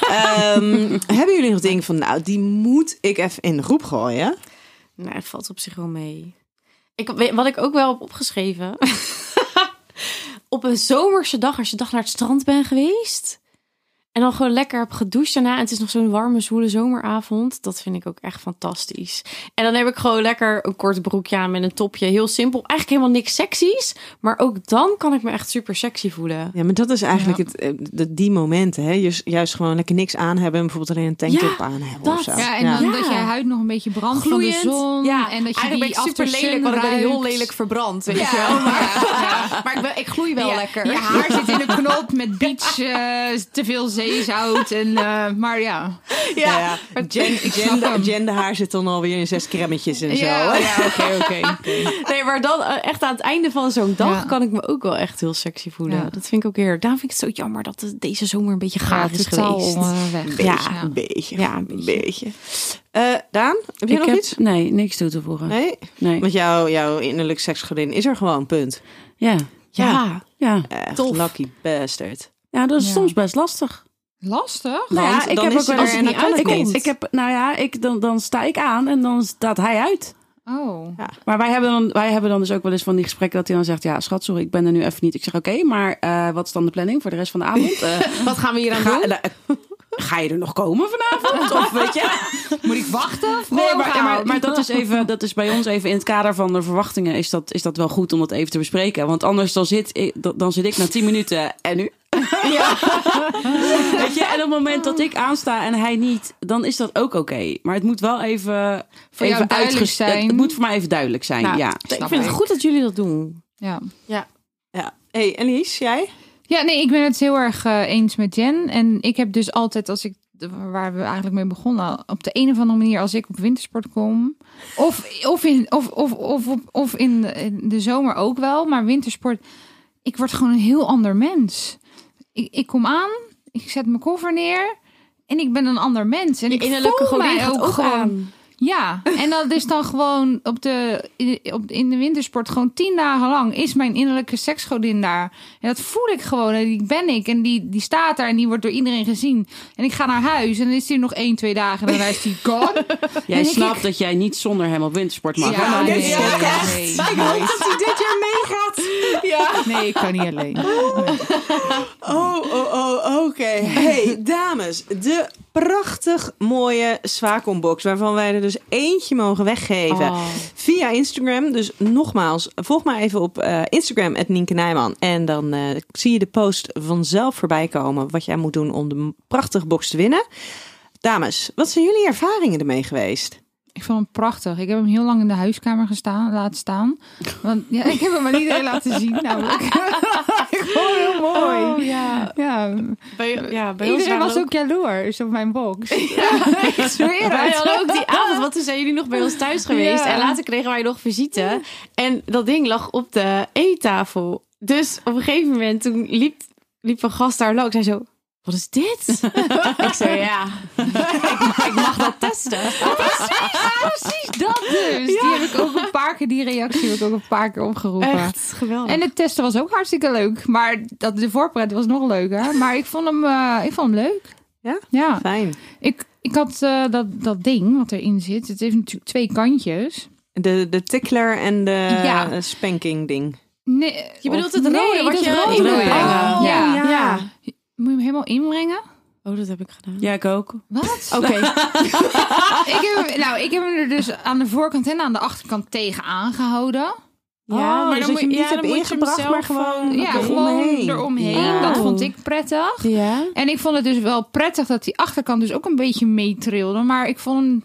C: Ehm, hebben jullie nog dingen van, nou, die moet ik even in de groep gooien?
D: Nou, het valt op zich wel mee. Ik, weet- wat ik ook wel heb opgeschreven. op een zomerse dag, als je dag naar het strand bent geweest. En dan gewoon lekker heb gedoucht daarna. En het is nog zo'n warme, zwoele zomeravond. Dat vind ik ook echt fantastisch. En dan heb ik gewoon lekker een kort broekje aan met een topje. Heel simpel. Eigenlijk helemaal niks seksies. Maar ook dan kan ik me echt super sexy voelen.
C: Ja, maar dat is eigenlijk het, eh, de, die momenten, hè? Juist, juist gewoon lekker niks aan hebben en bijvoorbeeld alleen een tanktop
D: Ja,
C: aan hebben
D: dat.
C: of zo.
E: Ja, en
C: Ja.
E: dan
D: Ja.
E: dat je huid nog een beetje brandt
D: Gloeiend.
E: van de zon.
D: ja,
E: en dat je
D: eigenlijk
E: die
D: ben ik super
E: aftersun
D: lelijk, want ik ben heel
E: ruikt.
D: lelijk verbrand. Weet
E: Ja,
D: je wel.
E: ja,
D: Maar ik, ben, ik gloei wel
E: ja.
D: lekker.
E: Je haar zit in een knop met beach, eh, te veel zeezout. En, eh, maar ja.
C: Ja, ja. Jen, Jen,
E: snap hem.
C: Jen de haar zit dan alweer in zes kremmetjes en zo.
E: Ja,
C: hè?
E: ja, oké, oké.
D: Nee, maar dan eh, echt aan het einde van zo'n dag
E: Ja.
D: kan ik me ook wel echt heel sexy voelen.
E: Ja.
D: Dat vind ik ook heerlijk. Daarom vind ik het zo jammer dat het deze zomer een beetje gaar is geweest.
E: eh, weg.
C: Beetje,
D: dus Ja.
C: een beetje.
D: Ja,
C: een beetje. Eh, Daan, heb jij nog
B: heb,
C: iets?
B: Nee, niks toe te voegen. Nee.
C: Nee? Want jouw, jouw innerlijk seksgodin is er gewoon, punt.
B: Ja.
D: Ja.
B: Ja.
C: Echt,
D: Tof.
C: lucky bastard.
B: ja, dat is
E: Ja.
B: soms best lastig.
E: Lastig?
B: Nou
C: Want
B: ja, ik
C: dan
B: heb
C: is
B: ook wel
C: het
D: er
B: eens-
D: en dan kan het
B: ik,
D: niet.
B: ik, ik heb, nou ja, ik, dan, dan sta ik aan en dan staat hij uit.
E: Oh.
B: Maar wij hebben, dan, wij hebben dan dus ook wel eens van die gesprekken dat hij dan zegt: Ja, schat, sorry, ik ben er nu even niet. Ik zeg: Oké, maar eh, wat is dan de planning voor de rest van de avond? Eh,
D: Wat gaan we hier aan
B: ga,
D: doen?
B: nou, eh, ga je er nog komen vanavond? Of weet je?
E: Moet ik wachten? Of
B: Nee,
E: gewoon
B: maar,
E: gaan?
B: maar, maar dat, is even, dat is bij ons even in het kader van de verwachtingen. Is dat, is dat wel goed om dat even te bespreken? Want anders dan zit ik, dan- dan zit ik na 10 minuten en nu. Weet je, en op het moment dat ik aansta en hij niet, dan is dat ook oké. Maar het moet wel even,
E: Voor jou
B: even
E: duidelijk
B: uitges-
E: zijn.
B: Het, het moet voor mij even duidelijk zijn.
D: Nou,
B: ja.
D: ik
E: snap
D: vind het
E: ik.
D: goed dat jullie dat doen.
E: Ja.
C: Ja. hey, Elise, jij?
E: Ja, nee, ik ben het heel erg eh, eens met Jen. En ik heb dus altijd, als ik, waar we eigenlijk mee begonnen, op de een of andere manier, als ik op wintersport kom, of, of, in, of, of, of, of, of in, de, in de zomer ook wel, maar wintersport, ik word gewoon een heel ander mens. Ik, ik kom aan, ik zet mijn koffer neer. En ik ben een ander mens. En
D: Je
E: ik
D: innerlijke
E: voel
D: godin
E: mij
D: gaat
E: ook,
D: ook
E: gewoon.
D: aan.
E: Ja, en dat is dan gewoon op de, op, in de wintersport gewoon tien dagen lang is mijn innerlijke seksgodin daar. En dat voel ik gewoon. En die ben ik. En die, die staat daar en die wordt door iedereen gezien. En ik ga naar huis en dan is die nog één, twee dagen. En dan is die gone.
B: Jij
E: denk ik-
B: snapt dat jij niet zonder hem op wintersport mag.
E: Ja, nee,
C: dit is ook
E: nee,
C: Ik hoop dat hij dit jaar meegaat.
E: Nee, ik kan niet alleen.
C: Oh, oh, oh, oké. hey, dames. De prachtig mooie Swacombox, waarvan wij er dus eentje mogen weggeven.
D: Oh.
C: Via Instagram. Dus nogmaals, volg maar even op eh, Instagram, het Nienke Nijman. En dan eh, zie je de post vanzelf voorbij komen. Wat jij moet doen om de prachtige box te winnen. Dames, wat zijn jullie ervaringen ermee geweest?
E: Ik vond hem prachtig. Ik heb hem heel lang in de huiskamer gestaan, laten staan. Want ja, ik heb hem maar niet laten zien. Namelijk. Gewoon heel mooi.
D: Oh. ja.
E: Ja,
D: Bij, ja, bij ons
E: Iedereen
D: waren
E: was ook jaloers op mijn box. ik
D: Wij
E: zweer het.
D: hadden ook die avond, want toen zijn jullie nog bij ons thuis geweest.
E: Ja.
D: En later kregen wij nog visite. En dat ding lag op de eettafel. Dus op een gegeven moment, toen liep, liep een gast daar langs. Hij zo, wat is dit? ik zei, ja, ik, ik mag dat testen.
E: Precies dat dus. Die heb ik ook een paar keer, die reactie heb ik ook een paar keer opgeroepen.
D: Echt geweldig.
E: En het testen was ook hartstikke leuk. Maar dat, de voorpret was nog leuker. Maar ik vond hem, eh, ik vond hem leuk.
C: Ja?
E: Ja.
C: Fijn.
E: Ik, ik had eh, dat, dat ding wat erin zit. Het heeft natuurlijk twee kantjes.
C: De, de tickler en de
E: Ja.
C: eh, spanking ding.
E: Nee,
D: Je bedoelt
E: of-
D: het rode
E: Oh, nee,
D: wat
E: dat
D: je
E: rode
D: in moet
E: wil je.
D: brengen.
E: Oh, ja.
D: Ja.
E: Moet je hem helemaal inbrengen?
D: Oh, dat heb ik gedaan.
B: Ja, ik ook.
E: Wat?
D: Oké.
E: ik, heb, hem- nou, ik heb hem er dus aan de voorkant en aan de achterkant tegen aangehouden.
D: Ja,
C: Oh,
D: maar
C: dus
D: dan
C: dat je
D: moet- ja,
C: hem niet
D: dan
C: hebt
D: moet je hem
C: ingebracht,
D: zelf, eh,
C: maar gewoon,
E: Ja,
C: oké,
E: gewoon
C: omheen.
E: eromheen.
D: Ja.
E: Dat vond ik prettig.
D: Ja.
E: En ik vond het dus wel prettig dat die achterkant dus ook een beetje meetrilde. Maar ik vond hem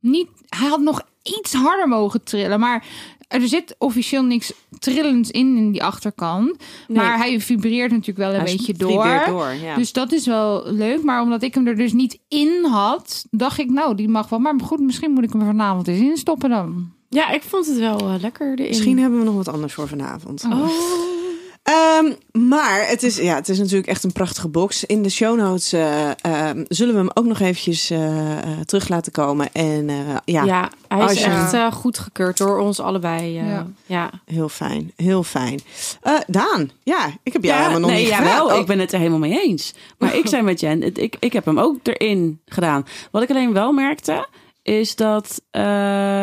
E: niet... Hij had nog iets harder mogen trillen. Maar er zit officieel niks trillends in, in die achterkant. Maar hij vibreert natuurlijk wel een
C: Hij
E: beetje
C: vliegt weer
E: door.
C: door ja.
E: Dus dat is wel leuk. Maar omdat ik hem er dus niet in had, dacht ik, nou, die mag wel. Maar goed, misschien moet ik hem er vanavond eens instoppen dan.
D: ja, ik vond het wel eh, lekker erin. Oh.
C: Misschien hebben we nog wat anders voor vanavond.
E: Oh.
C: Ehm, maar het is, ja, het is natuurlijk echt een prachtige box. In de show notes eh, ehm, zullen we hem ook nog eventjes eh, eh, terug laten komen. En eh, ja,
D: Ja, hij
C: Als
D: is
C: je-
D: echt eh, goedgekeurd door ons allebei. eh,
E: Ja.
D: ja.
C: heel fijn. Heel fijn. Eh, Daan, ja, ik heb jou helemaal nog
B: nee,
C: niet gevraagd.
B: jawel,
C: Oh,
B: ik ben het er helemaal mee eens. Maar ik zei met Jen, het- ik, ik heb hem ook erin gedaan. Wat ik alleen wel merkte, is dat eh,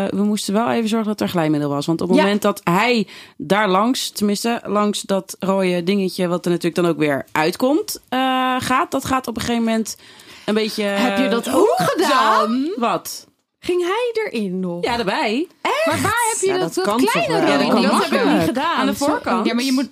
B: we moesten wel even zorgen dat er glijmiddel was. Want op het
D: Ja.
B: moment dat hij daar langs, tenminste langs dat rode dingetje... wat er natuurlijk dan ook weer uitkomt, eh, gaat. Dat gaat op een gegeven moment een beetje...
D: Heb je dat ook gedaan?
B: Wat?
D: Ging hij erin nog?
B: Ja, daarbij.
E: Maar waar heb je
C: Ja,
E: dat,
C: dat
E: dat,
C: kan toch
E: kleine
C: wel?
E: rode?
C: Ja, dat kan
E: dat heb ik
B: makkelijk.
E: niet
D: gedaan.
B: Aan de voorkant.
E: Ja, maar je moet...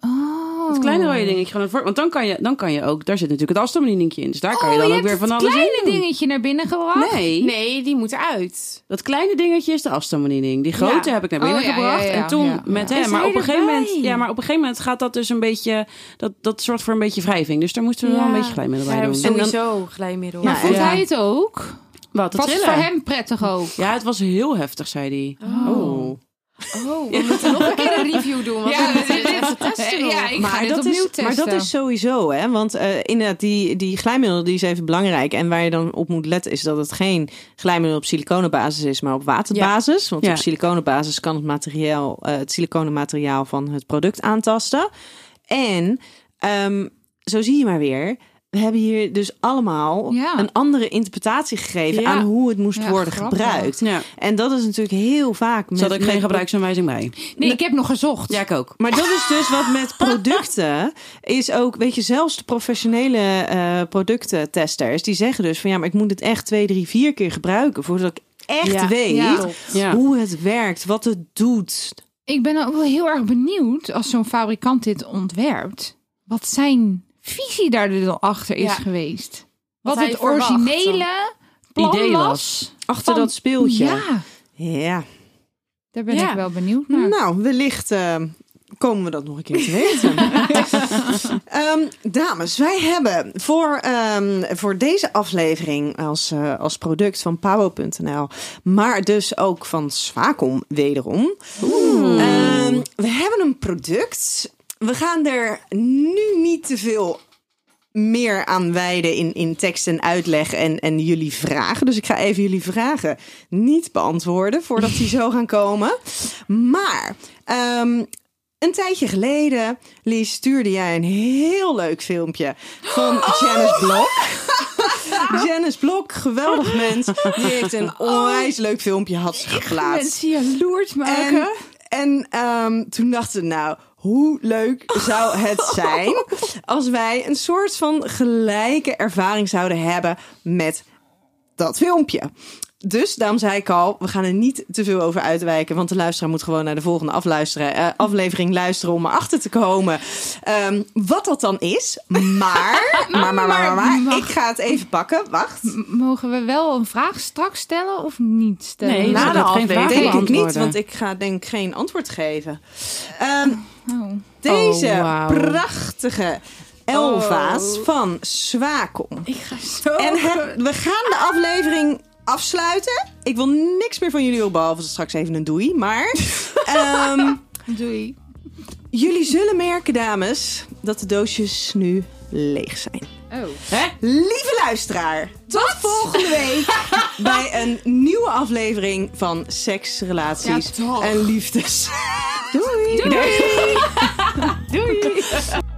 E: Oh.
B: Het kleine rode dingetje. gewoon voor- Want dan kan, je, dan kan je ook... Daar zit natuurlijk het afstandsbedieningje in. Dus daar
E: Oh,
B: kan je dan ook weer van alles
E: kleine
B: in doen.
E: dingetje naar binnen gebracht.
B: Nee.
D: Nee, die moet eruit.
B: Dat kleine dingetje is de afstandsbediening. Die grote
D: Ja.
B: heb ik naar binnen
E: Oh, ja,
B: gebracht.
E: ja, ja, ja.
B: En toen
E: Ja.
B: met
D: Is
B: hem. Maar
D: hij
B: op, een gegeven
D: erbij?
B: moment, ja, maar op een gegeven moment gaat dat dus een beetje. Dat, dat zorgt voor een beetje wrijving. Dus daar moesten we wel een beetje glijmiddel bij
D: Ja,
B: doen.
D: Sowieso glijmiddel.
C: Ja,
D: Ja,
E: Maar vond
C: en-
E: hij het ook?
B: Wat? Het
E: Was het
B: trillen?
E: voor hem prettig ook?
B: Ja, het was heel heftig, zei hij. Oh.
D: Oh, we moeten nog een keer een review doen. Want
E: Ja,
D: we moeten
E: dit-
D: dit even testen nog.
E: Ja, ik ga dit
C: dat
E: opnieuw
C: is,
E: testen.
C: maar dat is sowieso, hè? Want eh, inderdaad, die, die glijmiddel die is even belangrijk. En waar je dan op moet letten is dat het geen glijmiddel op siliconenbasis is, maar op waterbasis. Want
B: Ja.
C: op siliconenbasis kan het materiaal, eh, het siliconen materiaal van het product aantasten. En ehm, zo zie je maar weer. We hebben hier dus allemaal
E: Ja.
C: een andere interpretatie gegeven
D: Ja.
C: aan hoe het moest
E: Ja,
C: worden
E: grappig.
C: gebruikt.
B: Ja.
C: En dat is natuurlijk heel vaak met,
B: Zat ook
C: met
B: geen gebruiksaanwijzing bij.
E: Nee, ik heb nog gezocht.
B: Ja, ik ook.
C: maar dat is dus wat met producten is ook, weet je, zelfs de professionele eh productentesters, die zeggen dus van ja, maar ik moet het echt twee, drie, vier keer gebruiken voordat ik echt
D: Ja.
C: weet
E: Ja.
B: Ja.
C: hoe het werkt, wat het doet.
E: Ik ben ook wel heel erg benieuwd als zo'n fabrikant dit ontwerpt. Wat zijn visie daar dan achter is
D: Ja.
E: geweest.
D: Wat
E: Wat,
D: hij
E: het
D: verwacht
E: originele plan
B: Idee
E: was.
B: was.
C: Achter
E: Van-
C: dat speeltje.
E: Ja,
C: Ja.
E: daar ben
D: Ja.
E: ik wel benieuwd naar.
C: Nou, wellicht eh, komen we dat nog een keer te weten. Ehm, dames, wij hebben voor, ehm, voor deze aflevering als, eh, als product van Power.nl, maar dus ook van Swacom wederom. Ehm, we hebben een product. We gaan er nu niet te veel meer aan wijden in, in tekst en uitleg en, en jullie vragen. Dus ik ga even jullie vragen niet beantwoorden voordat die zo gaan komen. Maar ehm, een tijdje geleden, Lies, stuurde jij een heel leuk filmpje van Janice Blok. Janice Blok, geweldig mens. Die heeft een onwijs leuk filmpje had ze geplaatst.
E: Mensen jaloers maken.
C: En, en ehm, toen dachten we, nou, hoe leuk zou het zijn als wij een soort van gelijke ervaring zouden hebben met dat filmpje. Dus daarom zei ik al, we gaan er niet te veel over uitwijken. Want de luisteraar moet gewoon naar de volgende afluisteren, eh, aflevering luisteren om erachter te komen ehm, wat dat dan is. Maar, maar, maar, maar, maar, maar, ik ga het even pakken. Wacht.
E: M- Mogen we wel een vraag straks stellen of niet stellen?
B: Nee,
C: na
B: na
C: de
B: de aflevering.
C: Denk ik niet,
B: beantwoorden.
C: want ik ga denk ik geen antwoord geven. Ehm,
E: Oh.
C: Deze
D: Oh, wauw. Oh.
C: prachtige Elva's van Swacom.
D: Ik ga zo...
C: En het- we gaan de aflevering afsluiten. Ik wil niks meer van jullie horen, behalve straks even een doei. Maar ehm,
E: Doei.
C: jullie zullen merken, dames, dat de doosjes nu leeg zijn.
E: Oh.
C: Lieve luisteraar, tot volgende week bij een nieuwe aflevering van Seks, Relaties
E: Ja, toch.
C: en Liefdes. Doei!
E: Doei.
D: Doei!